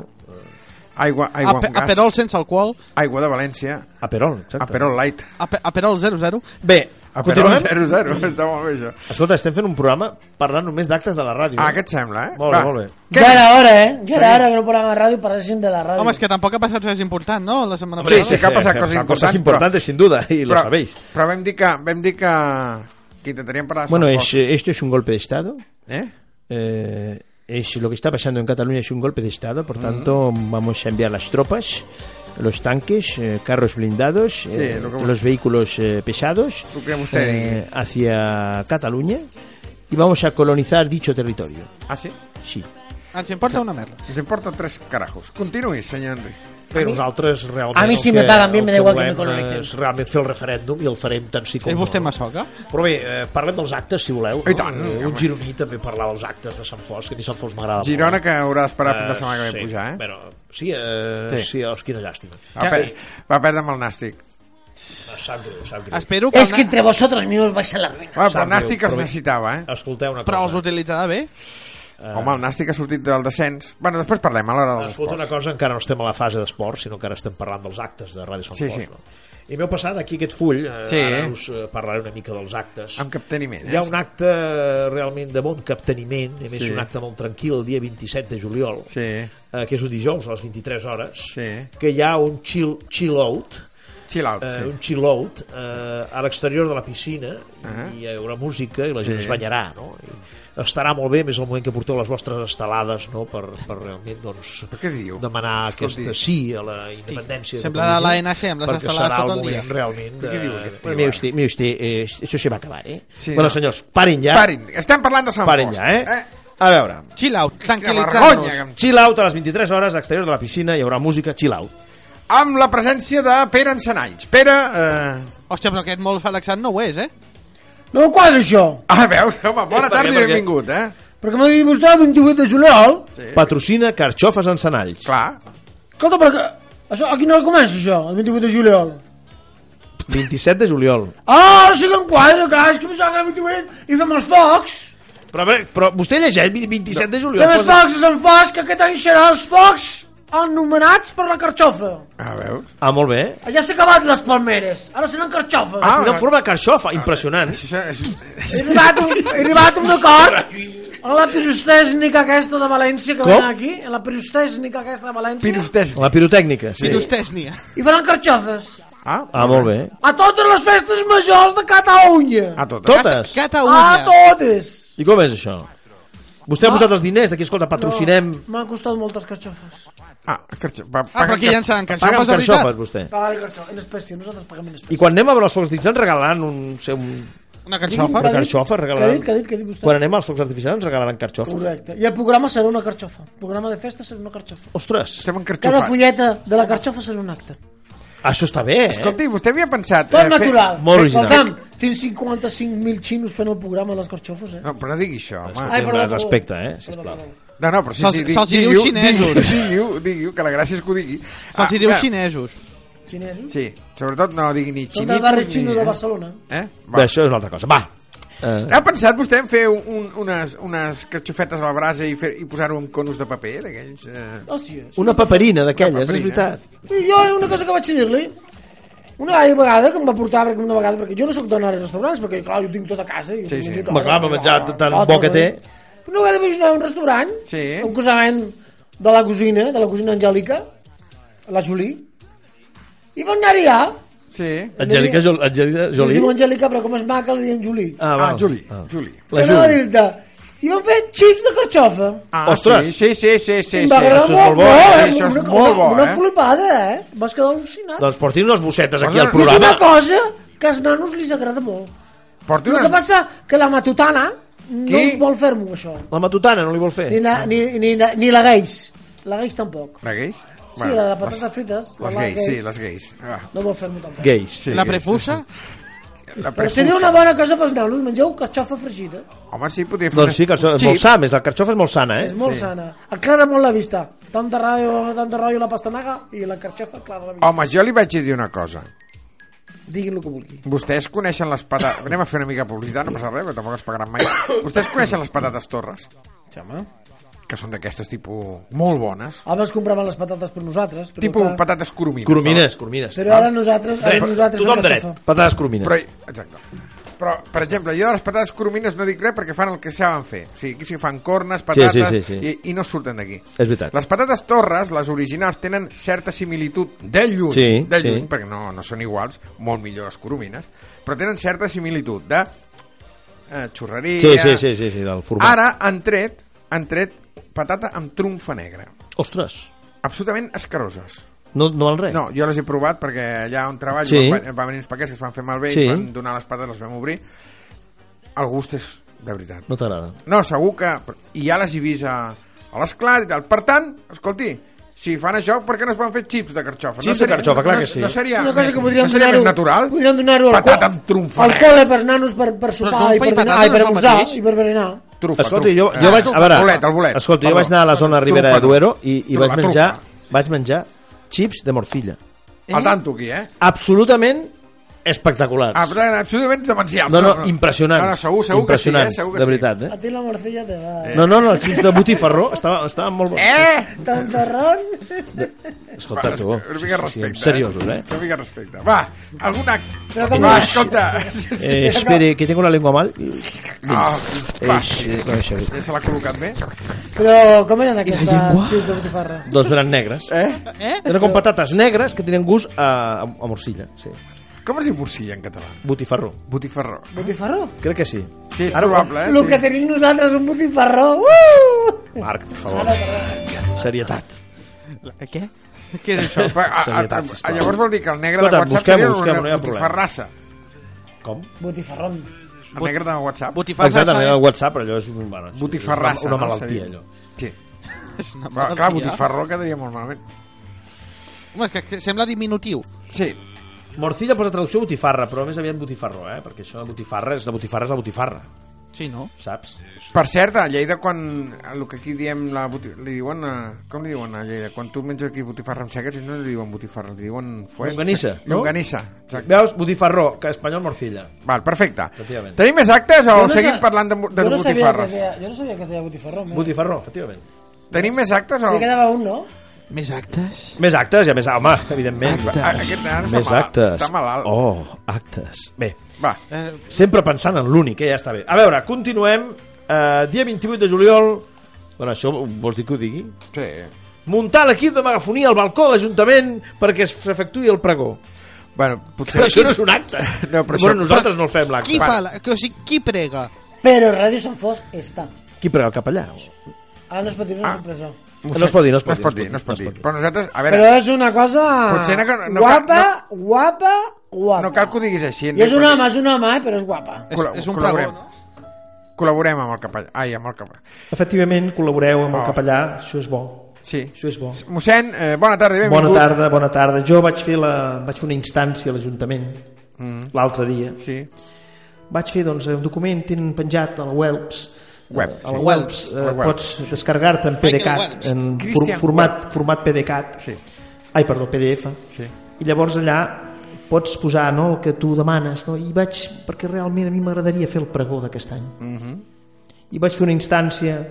A: Aigua, aigua
E: Ape
A: amb gas.
E: Aperol sense alcohol.
A: Aigua de València.
C: aperol, exacte.
A: Aperol light.
E: Ape Aperol 00.
C: Bé,
A: Aperol
C: continuem.
A: 00, [LAUGHS] està molt bé, això.
C: Escolta, estem fent un programa parlant només d'actes de la ràdio.
A: Ah,
C: eh?
A: què et sembla, eh?
C: Molt bé, molt bé.
D: Ja era hora, eh? Ja era hora que no parlàvem a ràdio, parléssim de la ràdio.
E: Home, és que tampoc ha passat res important, no? La setmana
A: Hombre,
E: passada.
A: sí que ha pasado cosas
C: Cosas
A: importantes,
C: importantes, sin duda, y lo sabéis.
A: Però vam dir que, vam dir que, que intentaríem parlar de
C: Bueno,
A: Sant
C: es,
A: Foc.
C: eh, esto es un golpe de Estado.
A: Eh?
C: Eh, es lo que está pasando en Cataluña es un golpe de Estado. Por tanto, vamos a enviar las tropas, los tanques, eh, carros blindados, eh,
A: lo que hemos-
C: los vehículos eh, pesados eh,
A: Lo que usted dice.
C: hacia Cataluña y vamos a colonizar dicho territorio.
A: Ah, sí?
C: Sí.
E: Ens importa una merda.
A: Ens importa tres carajos. Continuï, senyor Enric.
C: Però nosaltres realment...
D: a mi
C: el
D: si me
C: que-
D: paguen bien,
C: el
D: me da igual que
C: volem
D: me colonicen.
C: és realment fer el referèndum i el farem tant si com...
E: És vostè
C: no.
E: massoca?
C: Però bé, eh, parlem dels actes, si voleu.
A: I tant,
C: Eh,
A: home.
C: un gironí també parlava dels actes de Sant Fos, que a mi Sant Fos m'agrada
A: Girona, que haurà d'esperar fins la
C: Eh,
A: setmana que ve a
C: sí,
A: pujar, eh?
C: Però, sí, eh,
A: Sí. Ah.
C: sí. sí, oh, quina llàstima.
A: Va, per, va perdre amb el nàstic.
C: Sap greu, sap greu.
E: Espero que...
D: Es que
E: Una...
D: entre vosotros mismos vais a la ruina.
A: Bueno, però
C: Sap
A: el Nàstic
C: greu,
A: es
C: però-
A: necessitava, eh?
C: Escolteu una
E: Però els
C: cosa.
E: utilitzarà bé.
C: Eh.
A: Home, el Nàstic ha sortit del descens. Bueno, després parlem a l'hora dels
C: Escolta una
A: esports.
C: cosa, encara no estem a la fase d'esports, sinó que ara estem parlant dels actes de Ràdio Sant
A: Sí,
C: Clos.
A: sí.
C: No? I m'heu passat aquí aquest full, eh,
A: Sí.
C: sí. ara us eh, parlaré una mica dels actes.
A: Amb capteniment, eh?
C: Hi ha un acte realment de bon capteniment, a més
A: Sí.
C: sí. un acte molt tranquil el dia 27 de juliol,
A: Sí,
C: eh, que és un dijous a les 23 hores,
A: sí.
C: que hi ha un chill, chill out,
A: Chill out,
C: eh,
A: sí.
C: un chill out eh, a l'exterior de la piscina
A: Ah.
C: i hi haurà música i la gent
A: Sí.
C: es banyarà no? I estarà molt bé, més el moment que porteu les vostres estelades no? per, per realment doncs,
A: Però què diu?
C: demanar
A: Escolti.
C: aquesta sí a la independència de
E: Sembla
C: Catalunya,
E: l'ANC amb les
C: perquè
E: estelades
C: serà
E: tot el
C: el moment
E: dia.
C: realment de...
A: Què diu aquest tio,
C: Miri
A: ara?
C: vostè, miri vostè, eh, això se va acabar, eh?
A: Sí,
C: bueno,
A: no.
C: senyors, parin ja,
A: Parin, estem parlant de Sant
C: parin
A: Fost.
C: ja, eh? A veure,
E: Chill out,
A: Que vergonya!
E: tranquil·litzar-nos.
A: que em-
C: chill out a les 23 hores, a exterior de la piscina, hi haurà música chill out.
A: Amb la presència de Pere Ensenalls. Pere... Eh...
E: Hòstia, però aquest molt relaxant no ho és, eh?
D: No ho quadro això.
A: A veure, home, bona
C: Eh,
A: tarda i
C: perquè-
A: benvingut, eh?
D: Perquè m'ha dit vostè el 28 de juliol.
A: Sí.
C: Patrocina Carxofes en Senalls.
A: Clar.
D: Escolta, perquè... Això, a quina hora comença això, el 28 de juliol?
C: 27 de juliol.
D: Ah, ara sí que em quadra, clar, és que pensava que era el 28 eh? i fem els focs.
C: Però, a veure, però vostè llegeix 27 de juliol.
D: Fem els
C: posa-
D: focs a Sant Fos, que aquest any serà els focs anomenats per la carxofa.
A: A veus?
C: Ah, molt bé.
D: Ja s'ha acabat les palmeres, ara seran carxofes.
A: Ah,
C: Ah, una forma de carxofa,
D: Ah,
C: impressionant.
A: Això és...
D: He arribat, a un- he arribat a un acord a la pirostèsnica aquesta de València que
C: Com?
D: venen aquí, a la pirostèsnica aquesta de València,
A: Pirostès.
C: La pirotècnica, sí.
E: Pirostèsnia.
D: i faran carxofes
A: Ah,
C: Ah, molt bé.
D: a totes les festes majors de Catalunya.
A: A tot.
C: Totes.
D: A
E: Catalunya.
D: totes.
C: I com és això? Vostè ha posat els diners d'aquí, escolta, patrocinem...
D: No, M'han costat moltes carxofes.
A: Ah, carxa, va,
E: Ah, però aquí
A: que-
E: ja en seran
C: Paga
E: carxofes,
C: amb
E: de
C: carxofes,
E: veritat.
C: vostè.
D: Pagar carxofes, Ah, en espècie, nosaltres paguem en espècie.
C: I quan anem a veure els focs artificials ens regalaran un... Seu, un...
E: Una carxofa?
C: Una carxofa,
D: Què ha dit, què ha
C: regalaran...
D: dit, què ha dit vostè?
C: Quan anem als focs artificials ens regalaran carxofes.
D: Correcte. I el programa serà una carxofa. El programa de festa serà una carxofa.
C: Ostres,
A: Estem
D: Cada
A: encarxofats.
D: fulleta de la carxofa serà un acte.
C: Eh, això està bé, eh?
A: Escolti, vostè havia pensat...
D: Tot
A: eh, fer-
D: natural.
C: molt original.
D: Escolta'm, tinc 55.000 xinos fent el programa de les carxofes, eh?
A: No, però no digui això, home.
D: Ai, perdó, perdó.
C: Respecte, eh, sisplau.
A: No, no, però sí,
E: Se'ls-
A: sí, di-
E: se'ls hi diu
A: digui-ho, [LAUGHS]
E: xinesos.
A: digui-ho, Digui-ho, digui-ho, que la gràcia és que ho digui. Ah,
E: Se'ls hi diu
A: mira,
E: xinesos.
D: Xinesos?
A: Sí, sobretot no digui ni
D: Són
A: xinitos
D: del barri
A: ni-
D: xino de Barcelona.
A: Eh?
C: Bé,
A: Va.
C: això és una altra cosa. Va. Eh,
A: Ha pensat vostè en fer un, unes, unes carxofetes a la brasa i, fer, i posar-ho en conos de paper, d'aquells... Eh?
D: Hòstia. sí.
C: una paperina d'aquelles,
A: Una
C: és
A: paperina.
C: veritat.
D: I jo una cosa que vaig dir-li, una vegada que em va portar, perquè una vegada, perquè jo no sóc d'anar als restaurants, perquè clar, jo tinc tot a casa. i Jo
A: Sí,
D: menjo
A: sí.
D: tot a
C: Home, clar,
D: casa,
C: m'ha menjat
D: clar,
C: tant
D: clar,
C: bo que
D: tot,
C: té.
D: eh? Una vegada vaig anar a un restaurant,
A: Sí.
D: a un casament de la cosina, de la cosina Angèlica, a la Jolí, i van anar-hi ja,
A: Sí.
C: Angèlica, Jol- Angèlica
D: Jolí? es
C: Jolie?
D: diu Angèlica, però com és maca li diuen Jolí.
C: Ah,
A: Ah,
C: va.
A: Juli,
C: Ah.
A: Juli.
C: La
D: Anava a
C: Juli.
D: dir-te, I van fer xips de carxofa.
A: Ah,
C: Ostres.
A: Sí, sí, sí, sí, sí.
D: I em va
A: sí.
D: agradar
C: això és
D: molt,
C: molt bo,
D: molt,
A: eh? Això és
D: una-
A: molt bo,
D: una
A: eh?
D: flipada, eh? Vas quedar al·lucinat.
C: Doncs portin unes bossetes aquí al
D: És
A: Posa-
C: programa.
D: una cosa que als nanos li agrada molt.
A: Porti
D: El
A: unes...
D: que passa que la matutana no
A: Qui?
D: vol fer-m'ho, això.
C: La matutana no li vol fer?
D: Ni la, ni, ni, la- ni la gais. La gais tampoc.
A: La gais?
D: Sí, la de patates frites.
A: Les
D: la
A: gais, sí, les gais. Ah,
D: No vol fer-m'ho tampoc.
C: Gais.
A: sí,
E: La
A: gais.
E: prepusa?
A: La
D: Però
A: prepuça.
D: seria una bona cosa pels nanos, mengeu carxofa fregida.
A: Home, sí, podria fer...
C: Doncs sí,
A: unes-
C: que això és
A: Sí,
C: molt sa, més la carxofa és molt sana,
D: És
C: eh?
D: molt sana. Aclara molt la vista. Tant de rotllo, tant de rotllo la pastanaga i la carxofa aclara la vista.
A: Home, jo li vaig dir una cosa.
D: Diguin el que vulgui.
A: Vostès coneixen les patates... Anem a fer una mica de publicitat, no passa res, perquè tampoc ens pagaran mai. Vostès coneixen les patates torres?
D: Xama.
A: Que són d'aquestes tipus... Molt bones.
D: Abans compraven les patates per nosaltres. Però
A: Tipus
D: clar,
A: patates coromines.
C: Coromines, coromines.
D: Però ara nosaltres... Ara
C: Dret,
D: nosaltres
C: tothom
D: la
C: dret.
D: carxofa.
C: Patades coromines.
A: Però, exacte. Però, per exemple, jo de les patates coromines no dic res perquè fan el que saben fer. O sigui, aquí sí que fan cornes, patates,
C: sí, sí, sí.
A: I, i no surten d'aquí.
C: És veritat.
A: Les patates torres, les originals, tenen certa similitud de lluny,
C: Sí,
A: de lluny
C: sí.
A: perquè no, no són iguals, molt millor les coromines, però tenen certa similitud de eh, xurreria...
C: Sí, sí, sí, sí, sí, del format.
A: Ara han tret, han tret patata amb trumfa negra.
C: Ostres,
A: Absolutament escaroses.
C: no, no val res.
A: No, jo les he provat perquè allà on treballo sí.
C: Sí.
A: van, van venir uns paquets que es van fer malbé sí.
C: Sí.
A: i van donar les pates, les vam obrir. El gust és de veritat.
C: No t'agrada.
A: No, segur que... I ja les he vist a, a l'esclat i tal. Per tant, escolti, si fan això, per què no es van fer xips de carxofa?
C: Xips
A: no
C: de carxofa, clar
A: no,
C: que
A: és-
C: sí.
A: No seria,
D: És una cosa
A: més,
D: que podríem
A: no seria
D: donar-ho
A: més natural?
D: podríem donar-ho al,
A: Patata
D: co
A: amb eh, trumfa.
D: al col·le per nanos per, per sopar
E: trompa
D: i per,
E: i
D: dinar,
E: patata
D: i per
E: no és el
D: abusar
E: mateix?
D: i per berenar
A: Trufa,
C: Escolta, jo,
A: trufa.
C: jo vaig... A veure,
A: El bolet, el bolet.
C: Escolta, jo
A: Perdó.
C: vaig anar a la zona Ribera de
A: Trufa, no.
C: Duero i, i
A: Trufa,
C: vaig menjar,
A: trufa.
C: vaig menjar xips de morcilla.
A: Al tanto, aquí, eh?
C: Absolutament Eh?
D: espectaculars.
A: Ah, però absolutament demencials.
D: No, no, impressionants.
A: No, no, segur, segur
D: impressionants,
A: que sí, eh? segur que
D: de veritat,
C: A ti la morcilla te va.
D: eh? No, no, no, els xics de Botifarró estaven, estaven molt bons.
A: sí. Eh!
C: Tantarrón.
D: Escolta, tu.
A: Una mica de respecte.
D: seriosos, eh?
A: Una mica de respecte. Va, alguna...
C: Però com
A: Va,
C: és?
A: escolta. [LAUGHS] Sí, sí.
D: Eh, espere, que tengo la lengua mal.
A: Ah, va,
D: Eh, com això?
A: ja se l'ha col·locat bé?
C: Però com eren aquestes xips de botifarra?
D: Doncs eren negres.
A: Eh?
D: Eren com patates negres que tenen gust a, a, a morcilla, sí.
A: Com es diu morcilla en català?
D: Botifarró.
A: Botifarró.
C: Botifarró?
D: Crec que sí.
A: Sí, és probable, eh?
C: El que tenim nosaltres, un botifarró. Uh!
D: Marc, per favor. Serietat. eh,
E: La- Què? [LAUGHS] Què
D: [LAUGHS]
E: era això?
A: Va, a, a,
D: Serietat,
A: a,
D: sisplau.
A: llavors vol dir que el negre
D: Escolta,
A: de WhatsApp
D: busquem-ho,
A: seria
D: busquem-ho, no
A: una
D: hi ha problema.
A: botifarrassa.
D: Com?
C: Botifarrón.
A: El negre de WhatsApp.
E: Botifarra.
D: Exacte, en el WhatsApp, allò és un, bueno, sí,
A: eh? Botifarrassa.
D: una, una
A: no?
D: malaltia,
A: Seria.
D: allò. [LAUGHS]
A: Sí. Va, clar, botifarró quedaria molt malament.
E: Home, és que sembla diminutiu.
A: Sí,
D: Morcilla posa traducció botifarra, però més aviat botifarró, eh? Perquè això de botifarra és la botifarra és la botifarra,
E: Sí, no?
D: saps?
A: Per cert, a Lleida, quan el que aquí diem, la buti... li diuen, eh, com li diuen a Lleida? Quan tu menges aquí botifarra amb xeques, ells no li diuen botifarra, li diuen fuet.
D: Longanissa, no?
A: Longanissa, eh, exacte.
D: Veus? Botifarró, que espanyol morcilla.
A: Val, perfecte.
D: Efectivament.
A: Tenim més actes o
C: Jo
A: no
C: no
A: seguim
C: sa-
A: parlant de, mu- de
C: jo no sabia que es
A: botifarres?
C: deia- Jo no sabia que es deia botifarró. mira.
D: Botifarró, efectivament.
A: Tenim més actes o...
C: Li quedava un, no?
E: Més actes?
D: Més actes, i a més, home, evidentment.
A: Ah, Aquest nen està
D: Més
A: malalt.
D: actes.
A: Està malalt.
D: Oh, actes. Bé,
A: Va,
E: Eh,
D: sempre pensant en l'únic, eh? ja està bé. A veure, continuem. Eh, dia 28 de juliol... Bueno, això vols dir que ho digui?
A: sí.
D: Muntar l'equip de megafonia al balcó de l'Ajuntament perquè es efectuï el pregó.
A: Bueno,
D: Però
A: potser...
D: això no és un acte.
A: No, però
D: bueno,
A: això-
D: nosaltres no el fem l'acte.
E: qui, pala, que, o sigui, qui prega?
C: Però Ràdio Sant Fosc està.
D: Qui prega el capellà?
C: Ara no es pot dir
A: Ah.
C: una sorpresa.
A: Ho
D: No
A: sé.
D: es pot dir, no es pot dir,
A: dir. No es pot dir, Però nosaltres, a veure,
C: Però és una cosa
A: Potser no cal- no cal-
C: guapa, guapa, guapa.
A: no cal que ho diguis així.
C: I és un home, és un home, eh, però és guapa.
E: És,
A: Col·la-
E: és un pregó,
A: col·laborem.
E: no?
A: Col·laborem amb el capellà. Ai, amb el capellà.
D: Efectivament, col·laboreu amb
A: Oh.
D: el capellà, això és bo.
A: Sí.
D: Això és bo.
A: Mossèn, eh, bona tarda i benvingut.
D: Bona tarda, bona tarda. Jo vaig fer, la, vaig fer una instància a l'Ajuntament
A: Mm.
D: l'altre dia.
A: Sí.
D: Vaig fer doncs, un document, tenen penjat a la Welps,
A: Web,
D: a la
A: sí.
D: Welps, eh,
A: La Welps.
D: pots descarregar-te en PDCAT,
E: Welps.
D: en for,
A: Christian
D: format, format PDCAT,
A: Sí.
D: ai, perdó, PDF,
A: Sí.
D: i llavors allà pots posar no, el que tu demanes, no? i vaig, perquè realment a mi m'agradaria fer el pregó d'aquest any.
A: Mhm.
D: i vaig fer una instància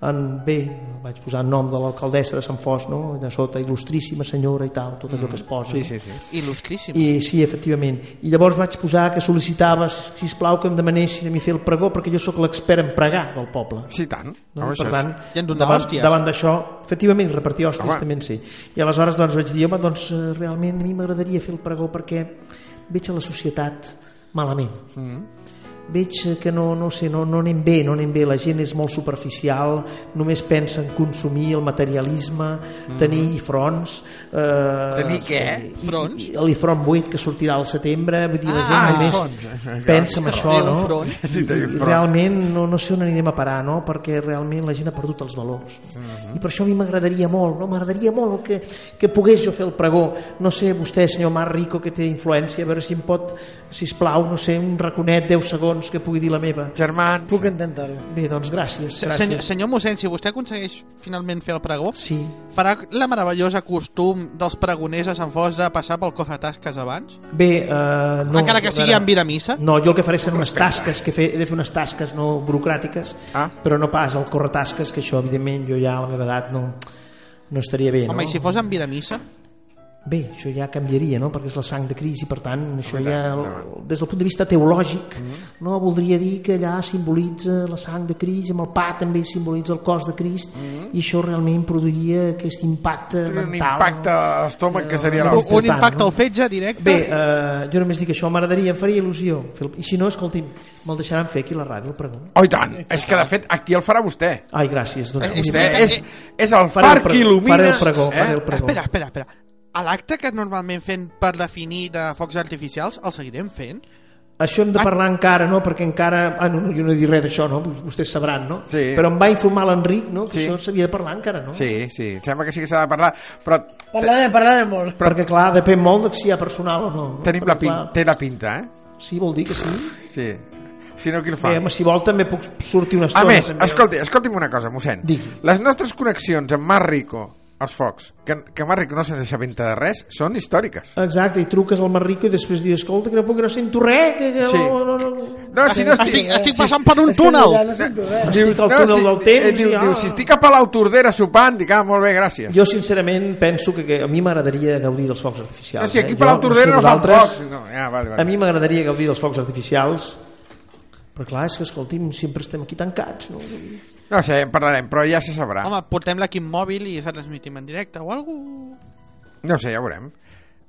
D: en, bé, vaig posar el nom de l'alcaldessa de Sant Fos, no? allà sota, il·lustríssima senyora i tal, tot
A: Mm.
D: allò que es posa. Sí, sí, sí.
E: Il·lustríssim.
D: I, sí, efectivament. I llavors vaig posar que sol·licitava, si plau que em demanessin a mi fer el pregó, perquè jo sóc l'expert en pregar del poble.
A: Sí, tant.
D: No?
A: Home,
D: per
A: això és-
D: tant,
E: I en donar
D: davant,
E: hòsties.
D: davant d'això, efectivament, repartir hòsties
A: Home.
D: també en sí. I aleshores doncs, vaig dir, home, doncs, eh, realment a mi m'agradaria fer el pregó perquè veig a la societat malament. Mm. Veig eh, que no, no, sé, no, no anem bé, no anem bé, la gent és molt superficial, només pensa en consumir el materialisme, tenir ifrons... Eh,
A: Mm. Tenir què?
D: i-
E: Frons?
D: I, i l'ifron 8 que sortirà al setembre, vull dir, la gent
A: Ah,
D: només
A: ifrons.
D: pensa en això, no? [LAUGHS]
E: Ifrons.
A: Sí, té
D: I- i
A: ifrons.
D: realment no, no sé on anirem a parar, no? perquè realment la gent ha perdut els valors.
A: Mhm.
D: I per això a mi m'agradaria molt, no? m'agradaria molt que, que pogués jo fer el pregó. No sé, vostè, senyor Mar Rico, que té influència, a veure si em pot, si plau, no sé, un raconet, 10 segons, que pugui dir la meva.
A: Germans,
C: Puc intentar-ho.
D: Bé, doncs gràcies,
E: Senyor,
D: gràcies.
E: senyor mossèn, si vostè aconsegueix finalment fer el pregó,
D: Sí,
E: farà la meravellosa costum dels pregoners a Sant Fos de passar pel tasques abans?
D: bé, eh, no,
E: Encara que
D: a
E: sigui
D: veure,
E: en vida missa?
D: No, jo el que faré són unes tasques, que fer, he de fer unes tasques no burocràtiques,
A: Ah.
D: però no pas el corretasques, que això, evidentment, jo ja a la meva edat no, no estaria bé.
E: Home,
D: no?
E: i si fos en vida missa?
D: Bé, això ja canviaria, no? perquè és la sang de Cris i per tant, això ja, des del punt de vista teològic,
A: Mm-hmm.
D: no voldria dir que allà simbolitza la sang de Cris, amb el pa també simbolitza el cos de Crist, i això realment produiria aquest impacte
A: Mm-hmm. un
D: mental.
A: impacte a l'estómac que seria la
D: no,
A: hòstia.
D: Escoltant,
E: Un impacte
D: no?
E: al fetge directe?
D: Bé, eh, jo només dic això, m'agradaria, em faria il·lusió. fer el- I si no, escolti'm, me'l deixaran fer aquí a la ràdio, el pregó.
A: Oh, i tant. És que, de fet, aquí el farà vostè.
D: Ai, gràcies. Doncs,
E: eh,
A: Vostè
E: eh,
A: és, és el
D: faré el
A: far
D: pregó,
A: que il·lumina... eh?
D: faré el pregó, faré el pregó.
E: Espera, espera, espera. A l'acte que normalment fem per definir de focs artificials, el seguirem fent?
D: Això
A: Ah.
D: hem de parlar encara, no? Perquè encara... Ah, no, no, jo no he dit res d'això, no? Vostès sabran, no?
A: Sí.
D: Però em va informar l'Enric, no? Que
A: Sí.
D: això s'havia de parlar encara, no?
A: Sí, sí, em sembla que sí que s'ha de parlar, però
C: Parlarem, parlarem molt.
D: Però... Perquè, clar, depèn molt de si hi ha personal o no. no?
A: tenim la
D: Perquè,
A: pin... té la pinta, eh?
D: Clar, sí, vol dir que sí.
A: Sí. Si no, qui el fa?
D: Bé, home, si vol també puc sortir una
A: A
D: estona.
A: més,
D: també.
A: escolti, escolti'm una cosa, mossèn.
D: Digui.
A: Les nostres connexions amb Mar Rico els focs, que, que Marric no se n'assabenta de res, són històriques.
F: Exacte, i truques al Marrico i després dius, escolta, que no, puc, que no sento res, que, que
A: Sí.
F: no, no, no.
A: No, si no estic...
E: Estic, estic passant per un túnel.
D: Ja no sento res.
F: Estic al túnel
A: si,
F: del temps,
A: eh, diu,
F: ja.
A: diu, si estic a Palau Tordera sopant, dic, ah, molt bé, gràcies.
F: Jo, sincerament, penso que, que a mi m'agradaria gaudir dels focs artificials.
A: no, si aquí
F: eh?
A: a Palau
F: Jo,
A: Tordera no,
F: sé
A: fan
F: vosaltres,
A: focs. No, ja, vale, vale.
F: A mi m'agradaria gaudir dels focs artificials, però clar, és que, escolti'm, sempre estem aquí tancats, no?
A: No sé, en parlarem, però ja se sabrà.
E: Home, portem l'equip mòbil i transmitim en directe o alguna
A: No sé, ja veurem.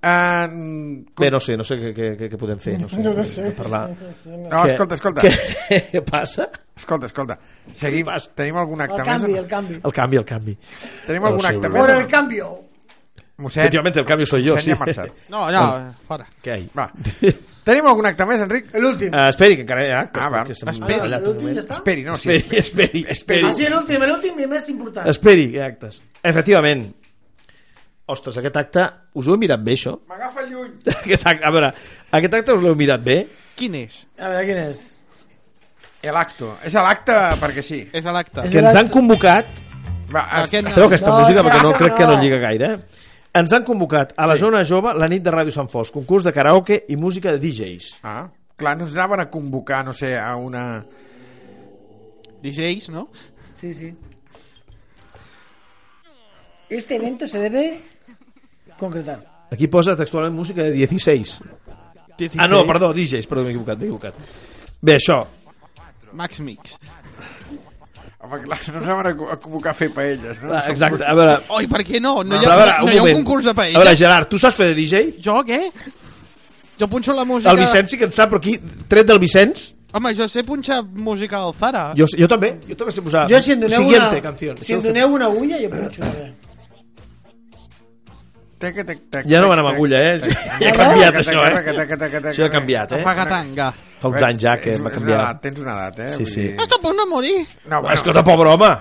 A: Uh,
C: Bé, no sé, no sé què, què, què, què podem fer. No sé,
D: No ho sé.
C: Parlar.
A: no,
C: Què?
A: escolta, escolta,
C: Què, què passa?
A: escolta, escolta. Seguim,
C: passa?
A: tenim algun
D: El
A: acte
D: canvi,
A: més?
D: el canvi.
C: El canvi, el canvi.
A: Tenim algun
C: El
A: acte
C: seu-
D: Por
A: més?
D: el cambio.
A: Mossèn,
C: Efectivament, el canvi soy jo,
A: mossèn
C: sí.
A: ja
D: [LAUGHS]
A: ha marxat.
E: No, no, fora.
C: Què hi?
F: [LAUGHS]
A: Va. Tenim algun acte més, Enric?
D: L'últim.
C: Eh, esperi, que encara hi ha...
A: Ah, va.
C: que se m'ha
E: Espera.
C: ratllat un
D: L'últim
C: moment.
D: ja està?
A: Esperi, no, sí.
C: Esperi, esperi,
D: Ah,
C: esperi.
D: sí, l'últim, l'últim i el més important.
C: Esperi, actes. Efectivament. Ostres, aquest acte, us ho he mirat bé, això?
A: M'agafa lluny.
C: [LAUGHS] Aquest acte, a veure, aquest acte us l'heu mirat bé?
E: Quin és?
D: A veure, quin és?
A: L'acto. És l'acte perquè sí.
E: És a l'acte.
D: És
C: Que ens han convocat
A: Va, es...
E: Aquest
C: Treu aquesta
D: No,
C: música
D: això
C: perquè no
D: no.
C: crec que no lliga gaire. eh? Ens han convocat a la zona jove la nit de Ràdio Sant Fos, concurs de karaoke i música de DJs.
A: Ah, clar, no ens anaven a convocar, no sé, a una...
E: DJs, no?
D: Sí, sí. Este evento se debe concretar.
C: Aquí posa textualment música de 16. Ah, no, perdó, DJs, perdó, m'he equivocat, m'he equivocat. Bé, això,
E: Max Mix.
A: Home, clar, no ens anaven a co- a convocar a fer paelles, no?
C: ah, exacte, a veure...
E: Oi, per què no? No,
C: però
E: hi ha,
C: a veure,
E: no hi ha un concurs de
C: A veure,
E: paella.
C: Gerard, tu saps fer de DJ?
E: Jo què? Jo punxo la música...
C: El Vicenç sí que en sap, però aquí, tret del Vicenç,
E: Home, jo sé punxar música del Zara.
C: jo, jo també, jo també sé posar...
D: Jo, si em doneu
C: Siguiente
D: una...
C: canción.
D: Si em doneu una agulla, jo punxo.
A: Tec, tec, tec,
C: Ja no
A: tec,
C: van amb
A: tec,
C: agulla, eh?
A: tec,
C: Ja
A: tec,
C: ha canviat,
A: tec,
C: això,
A: tec, tec, tec, tec,
C: eh?
A: tec,
C: Això ha
A: tec.
C: canviat, eh?
E: Apagatanga.
C: Fa uns anys ja que
A: És-
C: m'ha
A: és una edat,
C: canviat. Ah,
A: Tens una edat, eh?
C: Sí,
A: Vull
C: sí.
A: dir-
E: No t'ha punt a morir.
A: No, bueno,
C: Escolta, pobre home!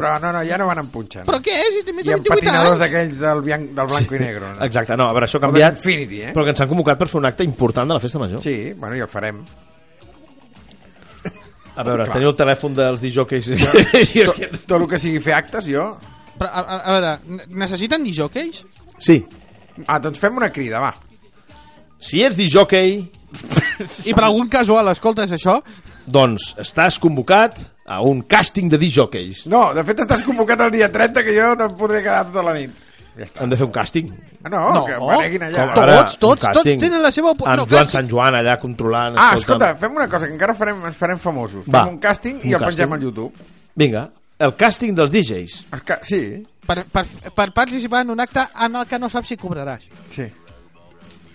A: però no, no, ja no van amb punxa.
E: Però què és? Si té més
A: I
E: de
A: amb
E: 28
A: patinadors
E: anys.
A: d'aquells del, bian- del blanco i negro. No?
C: Exacte, no, a veure, això ha
A: O
C: canviat,
A: d'Infinity, eh?
C: però que ens han convocat per fer un acte important de la Festa Major.
A: Sí, bueno, ja el farem.
C: A veure,
A: Clar.
C: teniu el telèfon dels dijòqueis. [LAUGHS] Sí, és
A: Tot,
C: que-
A: tot el que sigui fer actes, jo...
E: Però, a, a, a veure, ne- necessiten dijòqueis?
C: sí.
A: Ah, doncs fem una crida, va.
C: Si ets dijòquei,
E: I per algun casual, escoltes això?
C: doncs estàs convocat a un càsting de dijòqueis.
A: No, de fet estàs convocat el dia 30 que jo no em podré quedar tota la nit. Ja està.
C: Hem de fer un càsting.
A: Ah, No,
E: No.
A: que apareguin allà.
C: Com ara,
E: tots, tots,
C: un càsting
E: tots tenen la seva opo-
C: Amb
E: no,
C: Joan
E: càsting.
C: Sant Joan allà controlant.
A: Ah,
C: escolta'm.
A: escolta, fem una cosa, que encara farem, ens farem famosos. Fem
C: Va.
A: un càsting
C: Un
A: i el pengem
C: càsting.
A: al YouTube.
C: Vinga, el càsting dels DJs.
A: Es ca- Sí,
E: Per, per, per participar en un acte en el que no saps si cobraràs.
A: sí.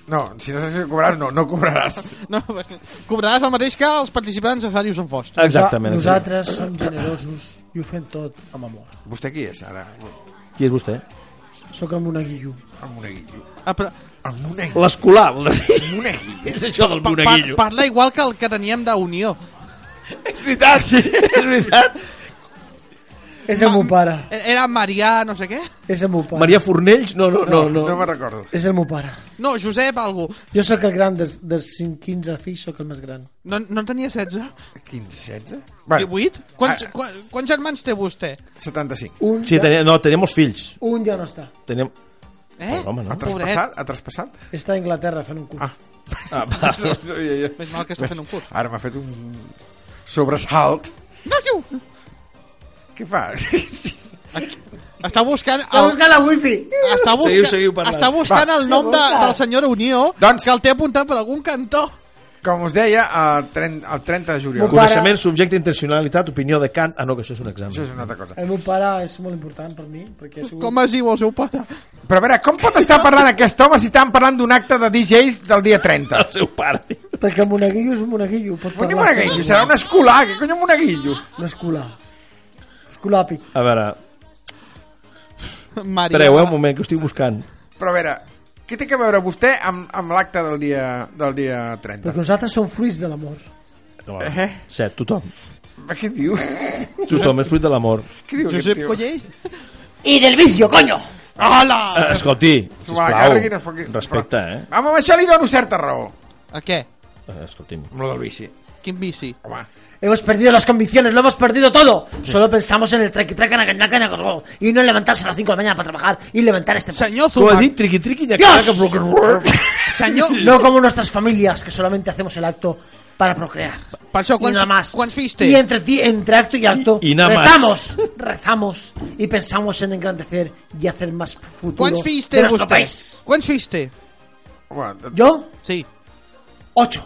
A: No, si no saps si cobraràs, no, no cobraràs.
E: No, cobraràs el mateix que els participants de Ràdio Sant Fost.
C: Exactament. exacte.
D: Nosaltres som generosos i ho fem tot amb amor.
A: Vostè qui és, ara?
C: Qui és vostè?
D: Sóc amb una guillo.
A: El moneguillo.
E: Ah, però
A: El moneguillo.
C: L'escolar, vol dir. [LAUGHS]
A: El moneguillo.
C: És això del
E: pa, pa,
C: monaguillo.
E: parla igual que el que teníem d'Unió.
C: És veritat, sí, és veritat.
D: És el meu pare.
E: E-, Era Marià, no sé què.
D: És el meu pare.
C: [LAUGHS] Maria Fornells, no, no, no. no.
A: No me'n recordo.
D: És el meu pare.
E: No, Josep, algú.
D: Jo sóc el gran, de, de 5, 15 fills sóc el més gran.
E: No, no en tenia 16?
A: 15, 16? Bueno,
E: 18? Quants,
A: Ah.
E: quan, quants germans té vostè?
A: 75.
D: Un,
C: Sí,
D: ja,
C: tenia, no, teníem molts fills.
D: un ja no està.
C: Teníem...
E: Eh?
C: Pobre home, no?
A: Ha traspassat? Ha traspassat?
D: Està a Anglaterra fent un curs.
A: Ah.
C: Ah, va.
A: [LAUGHS] No sabia jo.
E: Més mal que està fent un curs.
A: Ara m'ha fet un sobresalt.
E: No, tio!
A: Què fa? [LAUGHS]
E: Està buscant...
D: Està
E: El,
D: buscant la wifi!
E: està buscant,
C: Seguiu, seguiu parlant.
E: està buscant
A: Va.
E: el nom de, del senyor Unió
A: Doncs-
E: que el té apuntat per algun cantó.
A: Com us deia, el 30, el 30 de juliol.
D: Mon pare-
C: Coneixement, subjecte, intencionalitat, opinió de Kant... Ah, no, que això és un
A: Això
C: examen.
A: és una altra cosa.
D: El meu pare és molt important per mi, perquè és un...
E: Com es diu el seu pare?
A: Però a veure, com pot estar parlant aquest home si estan parlant d'un acte de DJs del dia 30?
C: El seu pare.
D: Perquè el monaguillo és un monaguillo, pot
A: Però ni
D: parlar...
A: monaguillo, serà un escolar, que cony un monaguillo?
D: No és culà. És culàpic.
C: A veure,
E: Maria.
C: treu, eh, un moment, que ho estic buscant.
A: Però a veure, què té que veure vostè amb, amb l'acte del dia, del dia 30?
D: Perquè nosaltres som fruits de l'amor.
C: No,
A: Eh?
C: Cert, tothom.
A: Què diu? [LAUGHS]
C: Tothom és fruit de l'amor.
A: Què diu aquest
E: Josep
A: tio?
E: Collell?
H: Y del vicio, coño.
E: Hola!
C: Eh, escolti,
A: Va,
C: sisplau,
A: carreguin el foc-
C: respecte, eh?
A: Home, amb això li dono certa raó.
E: A què?
C: eh? Escolti'm,
A: Amb lo del bici.
E: Quin vici.
A: Home,
F: Hemos perdido las convicciones, lo hemos perdido todo. Solo pensamos en el trequi treca naca, naca, naca, go, y no en levantarse a las 5 de la mañana para trabajar y levantar este país.
E: Senyor
C: Tu has
E: Zumac,
C: dit triqui triqui nyac,
F: Dios!
C: nyac, broc, broc.
E: senyor...
F: No como nuestras familias que solamente hacemos el acto para procrear.
E: Per això,
F: y nada más.
E: quants, quants fills té?
F: Y entre, ti- entre acto y acto
C: Y- y nada más.
F: rezamos, rezamos y pensamos en engrandecer y hacer más futuro
E: Quants fills té
F: de nuestro
E: vostè?
F: país.
E: Quants fills té?
A: home,
F: Yo,
E: Sí.
F: ocho.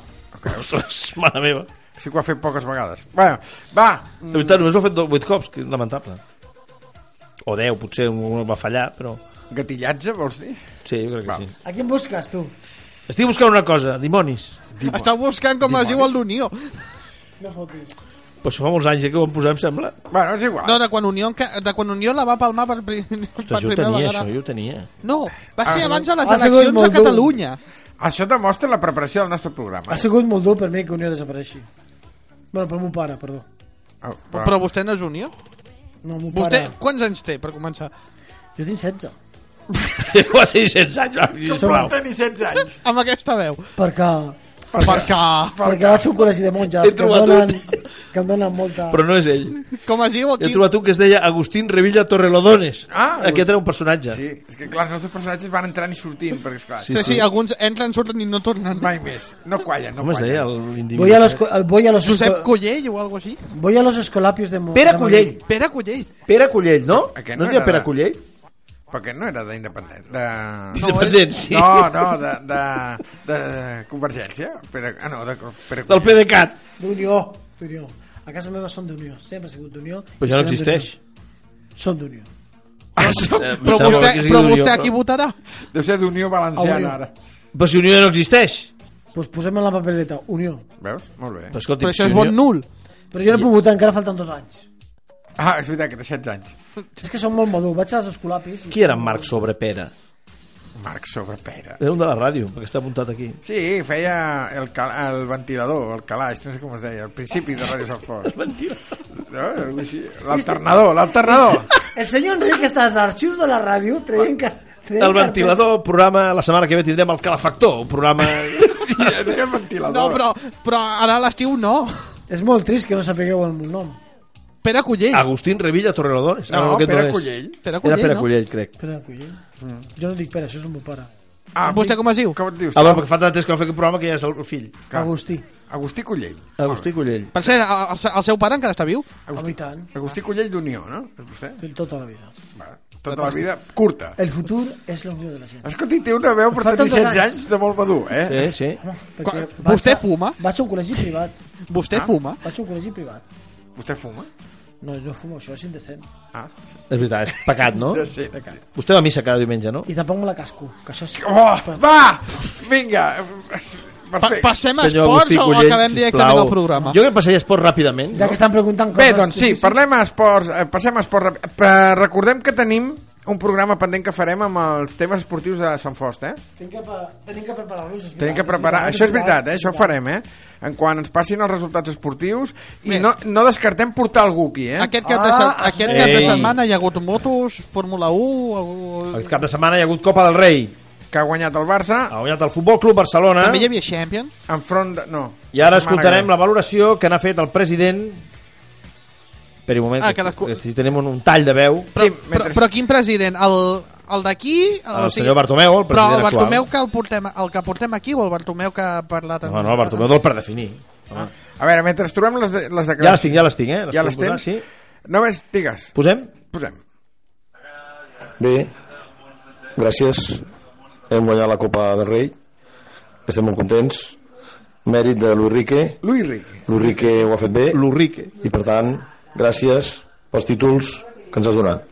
C: Ostres, mare meva.
A: sí que ho ha fet poques vegades. Bueno, va,
C: De veritat, només l'ho ha fet 8 cops, que lamentable. O 10, potser un va fallar, però...
A: gatillatge, vols dir?
C: Sí, jo crec que
A: Va.
C: sí.
F: ¿A quién buscas tú?
C: Estic buscant una cosa, dimonis.
E: Està buscant com es diu el d'Unió.
C: Però això fa molts anys eh, que ho van posar, em sembla.
A: Bueno, és igual.
E: No, de quan Unió, enca- de quan Unió la va palmar per, pri- [LAUGHS] per
C: Ostres, jo ho
E: primera
C: tenia,
E: vegada.
C: això, jo ho tenia. [LAUGHS]
E: No, va ser
A: Ah,
E: abans de les
D: ha sigut
E: eleccions a
D: molt dur.
E: Catalunya.
A: Això demostra la preparació del nostre programa.
D: Ha sigut molt dur per mi que Unió desapareixi. Bueno, pel meu pare, perdó.
A: Ah, però-
E: Però vostè no és Unió?
D: No, el meu
E: Vostè,
D: pare...
E: quants anys té, per començar?
D: Jo tinc 16.
C: Jo va tenir 16 anys, va, sisplau.
A: tenir 16 anys.
E: Amb aquesta veu.
D: Perquè...
E: Perquè,
D: Perquè va ser un col·legi de monges
C: He
D: que em
C: trobat
D: donen,
C: un.
D: que em donen molta...
C: Però no és ell.
E: com es diu
C: He
E: aquí...
C: trobat un que es deia Agustín Revilla Torrelodones.
A: Ah,
C: Aquest era un personatge.
A: Sí, és que clar, els nostres personatges van entrant i sortint, perquè esclar,
E: Sí, sí, alguns entren, surten i no tornen.
A: mai més. No quallen, no
C: Com es deia
A: quallen.
C: l'individu?
D: Voy a los, co- voy a los,
E: Josep
D: esco-
E: Collell o alguna així.
D: voy a los escolapios de... Mo-
C: Pere
D: de Madrid.
C: Collell.
E: Pere Collell.
C: Pere Collell, no?
A: Aquest
C: no
A: no
C: es deia
A: era
C: Pere
A: de-
C: Collell?
A: Perquè no era d'independent. De...
C: Independent, sí.
A: No, no, de, de, de Convergència. Pere, ah, no, de, Pere
C: [LAUGHS] Del PDeCAT.
D: D'Unió. D'Unió. A casa meva són d'Unió. Sempre ha sigut d'Unió.
C: Però
D: i
C: ja no
D: seran
C: existeix.
D: d'Unió. Són d'Unió.
A: Eh,
E: Però vostè, però vostè aquí votarà.
A: Deu ser d'Unió Valenciana,
D: Unió.
A: ara.
C: Però si Unió no existeix.
D: Doncs pues posem en la papeleta Unió.
A: Veus? Molt bé.
C: Però, escolti,
E: Però
C: si
E: això és
C: Unió-
E: vot nul.
D: Però jo no puc votar, encara falten dos anys.
A: Ah, és veritat, que té 16 anys.
D: És que són molt madur. Vaig als escolapis... i-
C: Qui era en Marc sobre Pere?
A: Marc sobre Pere.
C: Era un de la ràdio, perquè està apuntat aquí.
A: Sí, feia el, cal, el ventilador, el calaix, no sé com es deia, al principi de Ràdio Sant Fort.
C: [LAUGHS] Mentira.
A: No? Algú així. L'alternador, l'alternador.
D: El senyor Enric està als arxius de la ràdio traient... que- traient
C: El
D: carpetes.
C: ventilador, programa... La setmana que ve tindrem el calefactor, un programa...
A: Ja deia el ventilador.
E: No, però, però ara a l'estiu no.
D: És molt trist que no sapigueu el meu nom.
E: Pere Collell.
C: Agustín Revilla Torrelodones.
A: No,
C: Ah, aquest
A: Pere
C: és.
A: Collell.
C: Ah,
E: Pere
C: Era
E: Collell,
C: Pere
E: no?
C: Collell, crec.
D: Pere Collell. eh? Jo no dic Pere, això és el meu pare.
A: Ah,
E: Vostè com es diu?
A: Com et dius?
C: Ah, va, perquè fa tant temps que va fer aquest programa que ja és el fill.
A: Clar.
D: Agustí.
A: Agustí Collell.
E: Ah,
C: Agustí Collell.
E: Per cert, el, el- el seu pare encara està viu?
D: Agustí.
A: Agustí,
D: i tant.
A: Agustí Collell d'Unió, no? És vostè?
D: Fent tota la vida.
A: Va, tota la vida curta.
J: Eh-
D: El futur és la unió de la gent.
A: Escolti, té una veu per
D: Falten
A: tenir
D: dos
A: 16
D: anys.
A: anys de molt madur, eh?
C: Sí, sí.
D: Perquè
E: Quan-
D: vaig
E: vostè
D: a-
E: fuma?
D: Vaig a un col·legi privat.
A: Ah.
E: Vostè fuma?
D: Vaig a un col·legi privat.
A: Vostè fuma?
D: No, jo no fumo, això és indecent.
A: Ah,
C: És veritat, és pecat, no?
A: de ser.
C: Vostè va a missa cada diumenge, no?
D: I tampoc me la casco, que això és...
A: Oh, va! Vinga!
E: Pa
A: Perfecte.
E: passem a esports o acabem directament al programa?
C: Jo crec que passaria esports ràpidament.
D: Ja que estan preguntant coses...
A: Bé, doncs sí,
D: difícils.
A: parlem a esports, eh, passem a esports. ràpid. Per- Recordem que tenim un programa pendent que farem amb els temes esportius de Sant Fost, eh?
D: Tenim que, pre- tenim que preparar-los. és
A: Tenim que
D: veritat,
A: preparar...
D: és
A: Això és veritat, eh? Això ho farem, eh? En quan ens passin els resultats esportius i no, no descartem portar algú aquí, eh?
E: Aquest cap, de, se-
D: Ah,
E: aquest
D: sí.
E: cap de
C: Ei.
E: setmana hi ha hagut motos, Fórmula 1... Algú...
C: Aquest cap de setmana hi ha hagut Copa del Rei.
A: Que ha guanyat el Barça
C: Ha guanyat el Futbol Club Barcelona.
E: També hi havia Champions.
A: enfront de... No.
C: I ara
A: la setmana
C: escoltarem
A: que
C: la valoració que n'ha fet el president... Per un moment,
E: Ah,
C: ah,
E: que l'escu-
C: si tenim un, un tall de veu.
A: ve. Sí,
E: Però,
A: mentre...
E: però quin president? El, el d'aquí?
C: El
E: o sigui-
C: senyor Bartomeu, el president
E: Però el
C: actual.
E: Bartomeu que el, portem, el que portem aquí o el Bartomeu que ha parlat...
C: No, no, el Bartomeu del per definir. Ah.
A: A veure, mentre trobem les, de, les
C: Ja les
A: declaracions...
C: tinc, ja les tinc, eh?
A: Ja
C: puc
A: les
C: posar,
A: tens?
C: Sí.
A: Només digues,
C: Posem? [LAUGHS]
A: posem.
J: Bé, gràcies. Hem guanyat la Copa del Rei. Estem molt contents. Mèrit de l'Urrique.
A: Luis Rick.
J: L'Urrique ho ha fet bé.
C: L'Urrique.
J: I per tant, gràcies pels títols que ens has donat.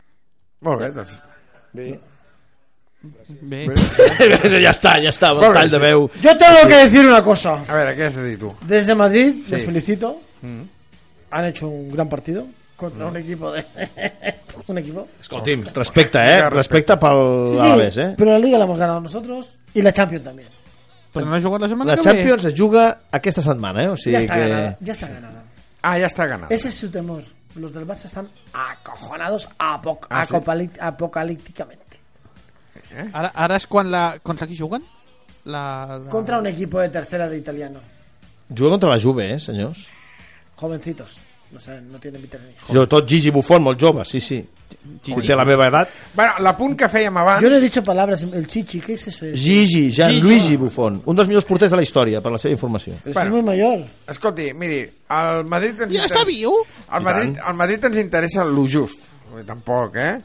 A: Molt bé, doncs.
E: Bé.
C: ja està, ja està, el tall de veu.
D: Yo tengo que decir una cosa.
A: A veure, què has de dir tu?
D: Desde Madrid les
A: Sí. Mm.
D: felicito. Han hecho un gran partido contra un equipo de [LAUGHS] un equipo.
C: Escolti'm, respecte, eh? Respecte pel
D: Sí, sí,
C: Alavés, eh?
D: pero la liga la hemos ganado nosotros y la Champions también.
E: Però no ha jugat la setmana
C: La
E: que
C: Champions es juga aquesta setmana, eh? O sigui
D: ya está
C: que...
D: ganada, ya está ganada.
A: Ah, ja està ganat.
D: Ese es su temor. Los del Barça están acojonados apo-
A: Ah, sí.
D: acopali- apocalípticamente.
E: ve. Ara, ara és quan la... Contra qui juguen? La... la-
D: Contra un equipo de tercera de italiano.
C: Juga contra la Juve, eh, senyors?
D: Jovencitos. No sé, no tienen vitamina.
C: Jo, tot Gigi Buffon, molt jove, sí, sí. Que té la meva edat.
A: Bueno, la punt que fèiem abans...
D: Yo no he dicho palabras, el chichi, ¿qué es eso?
C: Gigi, Gianluigi Buffon, un dels millors porters de la història, per la seva informació.
D: Pero si
A: Bueno.
D: es muy mayor.
A: Escolti, miri, el Madrid ens
E: Ja està viu?
A: El Madrid, el Madrid ens interessa lo just. Vull dir, Tampoc, eh?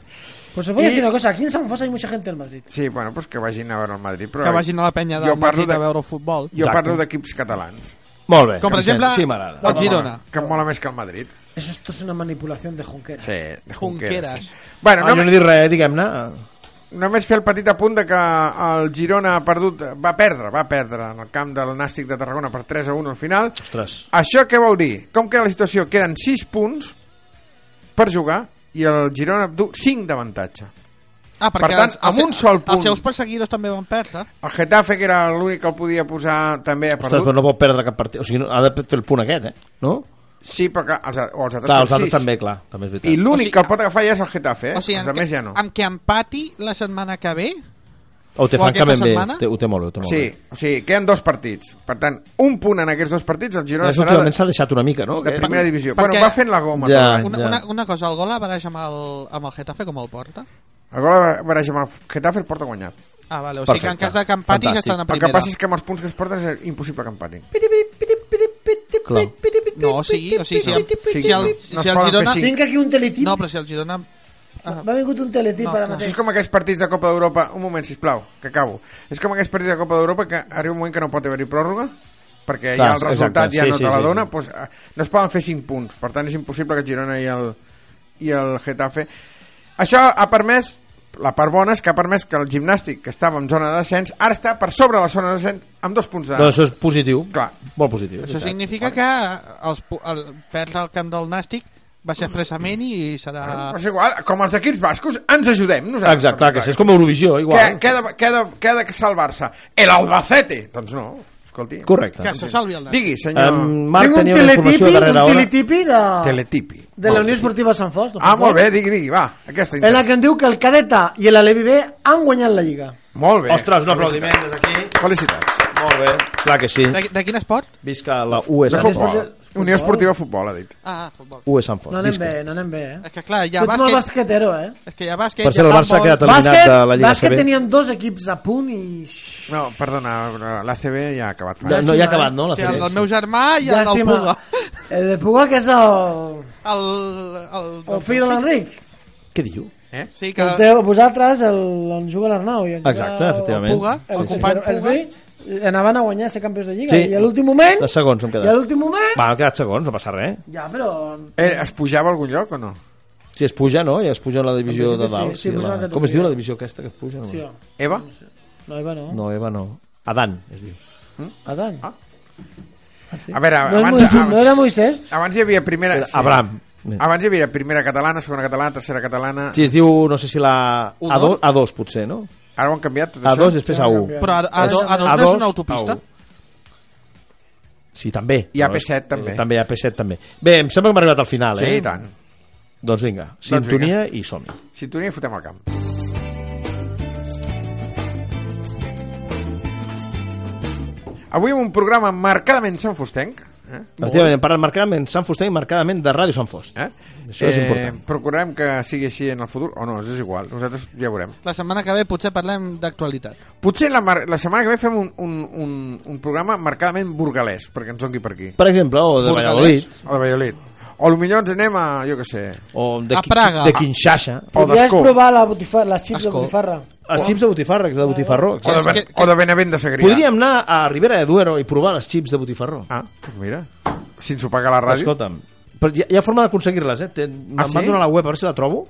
D: Pues se puede
A: Y-
D: decir una cosa, aquí en San Fos hay mucha gente del Madrid.
A: Sí, bueno, doncs que vagin a veure el Madrid. Però
E: Que vagin a la penya del
A: jo parlo
E: Madrid a veure el futbol.
A: Jo
C: Exacte.
A: parlo d'equips catalans,
C: Molt bé.
E: Com, per
C: em sembla-
E: exemple,
C: Sí, m'agrada.
E: el Girona.
A: que em mola més que el Madrid.
D: Eso esto es una manipulación de Junqueras.
A: de
E: Junqueras.
A: Bueno,
C: Ah, jo no he
A: només,
C: dit res, diguem-ne.
A: només fer el petit apunt de que el Girona ha perdut, va perdre, va perdre en el camp del Nàstic de Tarragona per 3 a 1 al final.
C: Ostres.
A: Això què vol dir? Com queda la situació? Queden 6 punts per jugar i el Girona du 5 d'avantatge.
E: Ah, perquè
A: Per tant,
E: els-
A: amb
E: els-
A: un sol punt.
E: Els seus perseguidors també van perdre.
A: El Getafe, que era l'únic que el podia posar, també ha
C: Ostres,
A: perdut.
C: però no pot perdre cap partit. O sigui, no, ha de fer el punt aquest, eh? No?
A: Sí, perquè els, a- o els altres,
C: Clar,
A: fan
C: els altres
A: sis.
C: també, clar. També és
A: I
C: veritat.
A: l'únic
E: O sigui,
A: que el pot agafar ja és el Getafe, eh?
E: O sigui,
A: els
E: amb,
A: altres
E: que,
A: ja no.
E: amb que empati la setmana que ve,
C: O té
E: o aquesta
C: francament bé,
E: setmana?
C: té- ho té molt bé. Ho té molt
A: Sí,
C: bé.
A: o sigui, queden dos partits. Per tant, un punt en aquests dos partits, el Girona
C: Res,
A: serà de,
C: últimament s'ha deixat una mica, no?
A: de primera divisió.
E: Perquè-
A: Bueno, va fent la goma.
C: Ja.
A: Ah, Ja.
E: una,
C: Ja.
E: una, una cosa, el gol a baralla amb el, amb el Getafe com el porta?
A: El gol a baralla amb el Getafe el porta guanyat.
E: Ah, vale, o sigui que en
C: Perfecte.
E: cas de que empati ja
C: Fantàstic.
E: estan a
A: El que
E: primera.
A: passa és que amb els punts que es porten és impossible que empatin.
C: Clar.
E: No, o sigui, o sigui, si,
A: Sí,
E: el, si, el,
A: no es
E: si
A: poden
E: el
A: fer
E: Girona...
A: cinc.
D: Tinc aquí un Ah, teletip.
E: No, però si el Girona...
D: Va haver vingut un teletip
E: No,
D: ara
E: clar.
A: Això
D: mateix.
A: és com aquells partits de Copa d'Europa... Un moment, sisplau, que acabo. És com aquells partits de Copa d'Europa que arriba un moment que no pot haver-hi pròrroga, perquè ja
C: Clar,
A: el resultat
C: exacte,
A: ja
C: sí,
A: no
C: sí,
A: te la
C: sí,
A: dona,
C: sí.
A: doncs, eh, no es poden fer 5 punts. Per tant, és impossible que el Girona i el, i el Getafe... Això ha permès... La part bona és que ha permès que el gimnàstic, que estava en zona de descens, ara està per sobre la zona de descens amb dos punts de...
C: Doncs això és positiu.
A: Clar.
C: Molt positiu. és
E: Això
C: veritat.
E: significa que els, pu- el, perdre el camp del Nàstic va ser expressament i serà...
A: Però és igual, com els equips bascos, ens ajudem nosaltres.
C: Exacte, clar, que això és com Eurovisió,
A: Què,
C: igual. eh?
A: què, ha de, què, ha de, què ha de salvar-se? El Albacete! Doncs no, escolti.
C: Correcte.
E: Que se salvi el Nàstic.
A: Digui, senyor...
C: Em- Marc
D: Tinc un
C: tenia una
D: teletipi,
C: informació a darrera
D: un
C: hora.
D: teletipi de,
A: Teletipi.
D: de la Unió Esportiva Sant Fos. de
A: Ah,
D: futbol,
A: molt bé, digui, digui, va. Aquesta
D: En la
A: interessa.
D: que em diu que el Cadeta i l'Alevi B han guanyat la Lliga.
A: Molt bé.
C: Ostres, un aplaudiment des d'aquí.
A: Felicitats.
C: Molt bé. Clar que sí.
E: De, de quin esport?
C: Visca la UE
A: De
C: Sant
A: futbol. Unió Esportiva Futbol, ha dit.
E: Ah, futbol.
C: UE Sant Fort.
D: No anem
C: Visca.
D: bé, no anem bé, eh?
E: És que clar, hi
D: Tu
E: ha
D: ets molt
E: bàsquet...
D: basquetero, eh?
E: És que hi ha bàsquet...
C: Per
E: hi
C: cert, el
E: ha
C: Barça ha
E: handbol.
C: quedat eliminat
D: Bàsquet,
C: de la Lliga
D: bàsquet
C: CB.
D: tenien dos equips a punt i...
A: No, perdona, l'ACB ja ha acabat.
C: Ja,
A: Ja.
C: no, ja ha acabat, no?
E: O
C: La
E: sigui, el
C: CB?
E: del meu germà i el del Puga.
D: El de Puga, que és el,
E: El, el,
D: el fill de l'Enric.
C: Què diu?
E: Sí, que...
D: Que... El teu, vosaltres, el, on juga l'Arnau i on
C: Ah. Exacte, efectivament.
D: el Puga,
C: Sí,
D: el,
C: sí.
D: company
E: El
D: Puga, el anaven a guanyar a ser campions de Lliga.
C: Sí.
D: Sí. I a l'últim moment...
C: De segons hem
D: I a
C: quedat.
D: l'últim moment...
C: Va, hem quedat segons, no passa res.
D: Ja, però...
A: Eh, es pujava a algun lloc o no?
C: Si es puja, no? Ja es puja a la divisió
D: En
C: de
D: principi
C: dalt.
D: sí, sí,
C: sí,
D: puja a la
C: la...
D: categoria.
C: Com es diu la divisió aquesta que es puja? No,
D: Sí, oh.
A: Eva?
D: no, Eva, no. no.
C: no Eva no. Adan, es diu.
D: Adam.
A: Ah.
D: Ah, sí.
A: A veure,
D: no, és
A: abans-
D: Moisés,
A: abans-
D: no era Moisés?
A: Abans hi havia primera...
C: Sí. Abraham.
A: Abans hi havia primera catalana, segona catalana, tercera catalana...
C: Sí, es diu, no sé si la...
E: Un
C: A2,
E: dos?
C: A2 potser, no?
A: Ara ho han canviat,
C: A2
A: tot
C: i
A: això?
C: després A1.
E: Però a, a,
C: És-
E: a, a, a,
C: A2,
E: és una autopista.
C: A1. Sí, també.
A: I a
C: No, és-
A: P7 també.
C: També, a P7 també. Bé, em sembla que hem arribat al final,
A: Sí,
C: eh?
A: i tant.
C: Doncs vinga, sintonia i som -hi.
A: Sintonia i fotem al camp. Avui amb un programa marcadament sanfostenc. Eh?
C: Efectivament, hem parlat marcadament Sant Fuster i marcadament de Ràdio Sant Fost.
A: Eh?
C: Això és important.
A: Procurarem que sigui així en el futur, o no, és igual, nosaltres ja veurem.
E: La setmana que ve potser parlem d'actualitat.
A: Potser la, mar- la setmana que ve fem un, un, un, un programa marcadament burgalès, perquè ens doni per aquí.
C: Per exemple, o de
E: Burgalès.
C: Valladolid,
A: O de Valladolid. O potser ens anem a, jo què sé,
C: o de,
E: A
C: Qui-
E: Praga.
C: de Kinshasa,
A: o
D: Podries
A: d'Escó,
D: provar la, botifarra, la xips de
E: Ascó.
D: botifarra.
C: els xips de Botifarra, que és de Botifarró.
A: o de,
C: exacte.
A: ben,
E: que-
A: o de Benavent de Segrià.
C: Podríem anar a Ribera de Duero i provar els xips de Botifarró.
A: Ah, doncs mira, si ens ho paga la ràdio.
C: Escolta'm, però hi ha, hi ha forma d'aconseguir-les, eh? Ten- Me'n
A: Ah, sí?
C: van donar la web, a veure si la trobo,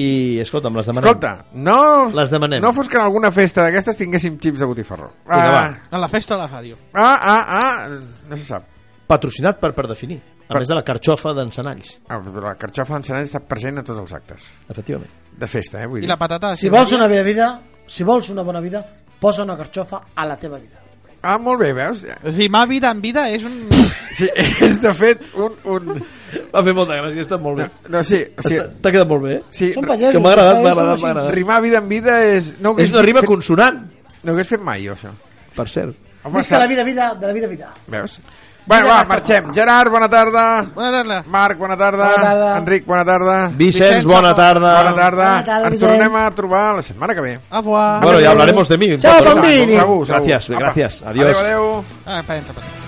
C: i, escolta'm, les demanem.
A: Escolta, no,
C: Les demanem.
A: no fos que en alguna festa d'aquestes tinguéssim xips de botifarró.
C: Vinga, va.
E: En la festa de la ràdio.
A: ah, ah, ah, no se sap.
C: Patrocinat per per definir, a
A: Per-
C: més de la carxofa d'encenalls,
A: Ah, però La carxofa d'encenall està present a tots els actes.
C: efectivament.
A: De festa, eh, vull
E: I
A: dir.
E: la patata... de
D: Si
E: Sevilla.
D: vols una bona vida, si vols una bona vida, posa una carxofa a la teva vida.
A: Ah, molt bé, veus?
E: És a dir, ma vida en vida és un...
A: Sí, [LAUGHS] és de fet un... un...
C: Va fer molta gràcia, està molt
A: No, no, Ah, sí, o sigui,
C: T'ha- T'ha quedat molt bé, eh?
A: sí,
D: Són pagesos.
C: que m'ha agradat,
D: són
C: m'ha agradat,
D: així.
C: m'ha agradat.
A: rimar vida en vida és... No ho
C: És
A: hagués
C: una rima
A: fet,
C: consonant,
A: No ho hagués fet mai, jo, això.
C: per cert.
A: Home,
D: Visca la vida, vida, de la vida, vida.
A: Veus? Bueno, va, marxem. Gerard, bona tarda.
E: Bona tarda.
A: Marc, bona tarda.
D: Bona tarda.
A: Enric, bona tarda.
C: Vicenç, bona tarda.
A: Bona tarda.
D: Bona tarda,
A: Ens
D: Vicenç.
A: tornem a trobar la setmana que ve.
E: Au revoir.
C: Bueno, ya hablaremos de mí.
D: Chao,
C: Bueno,
D: Bambini.
C: Gracias,
A: Apa.
C: gracias. Adiós.
A: Adéu, adéu.
E: Ah, espera, espera.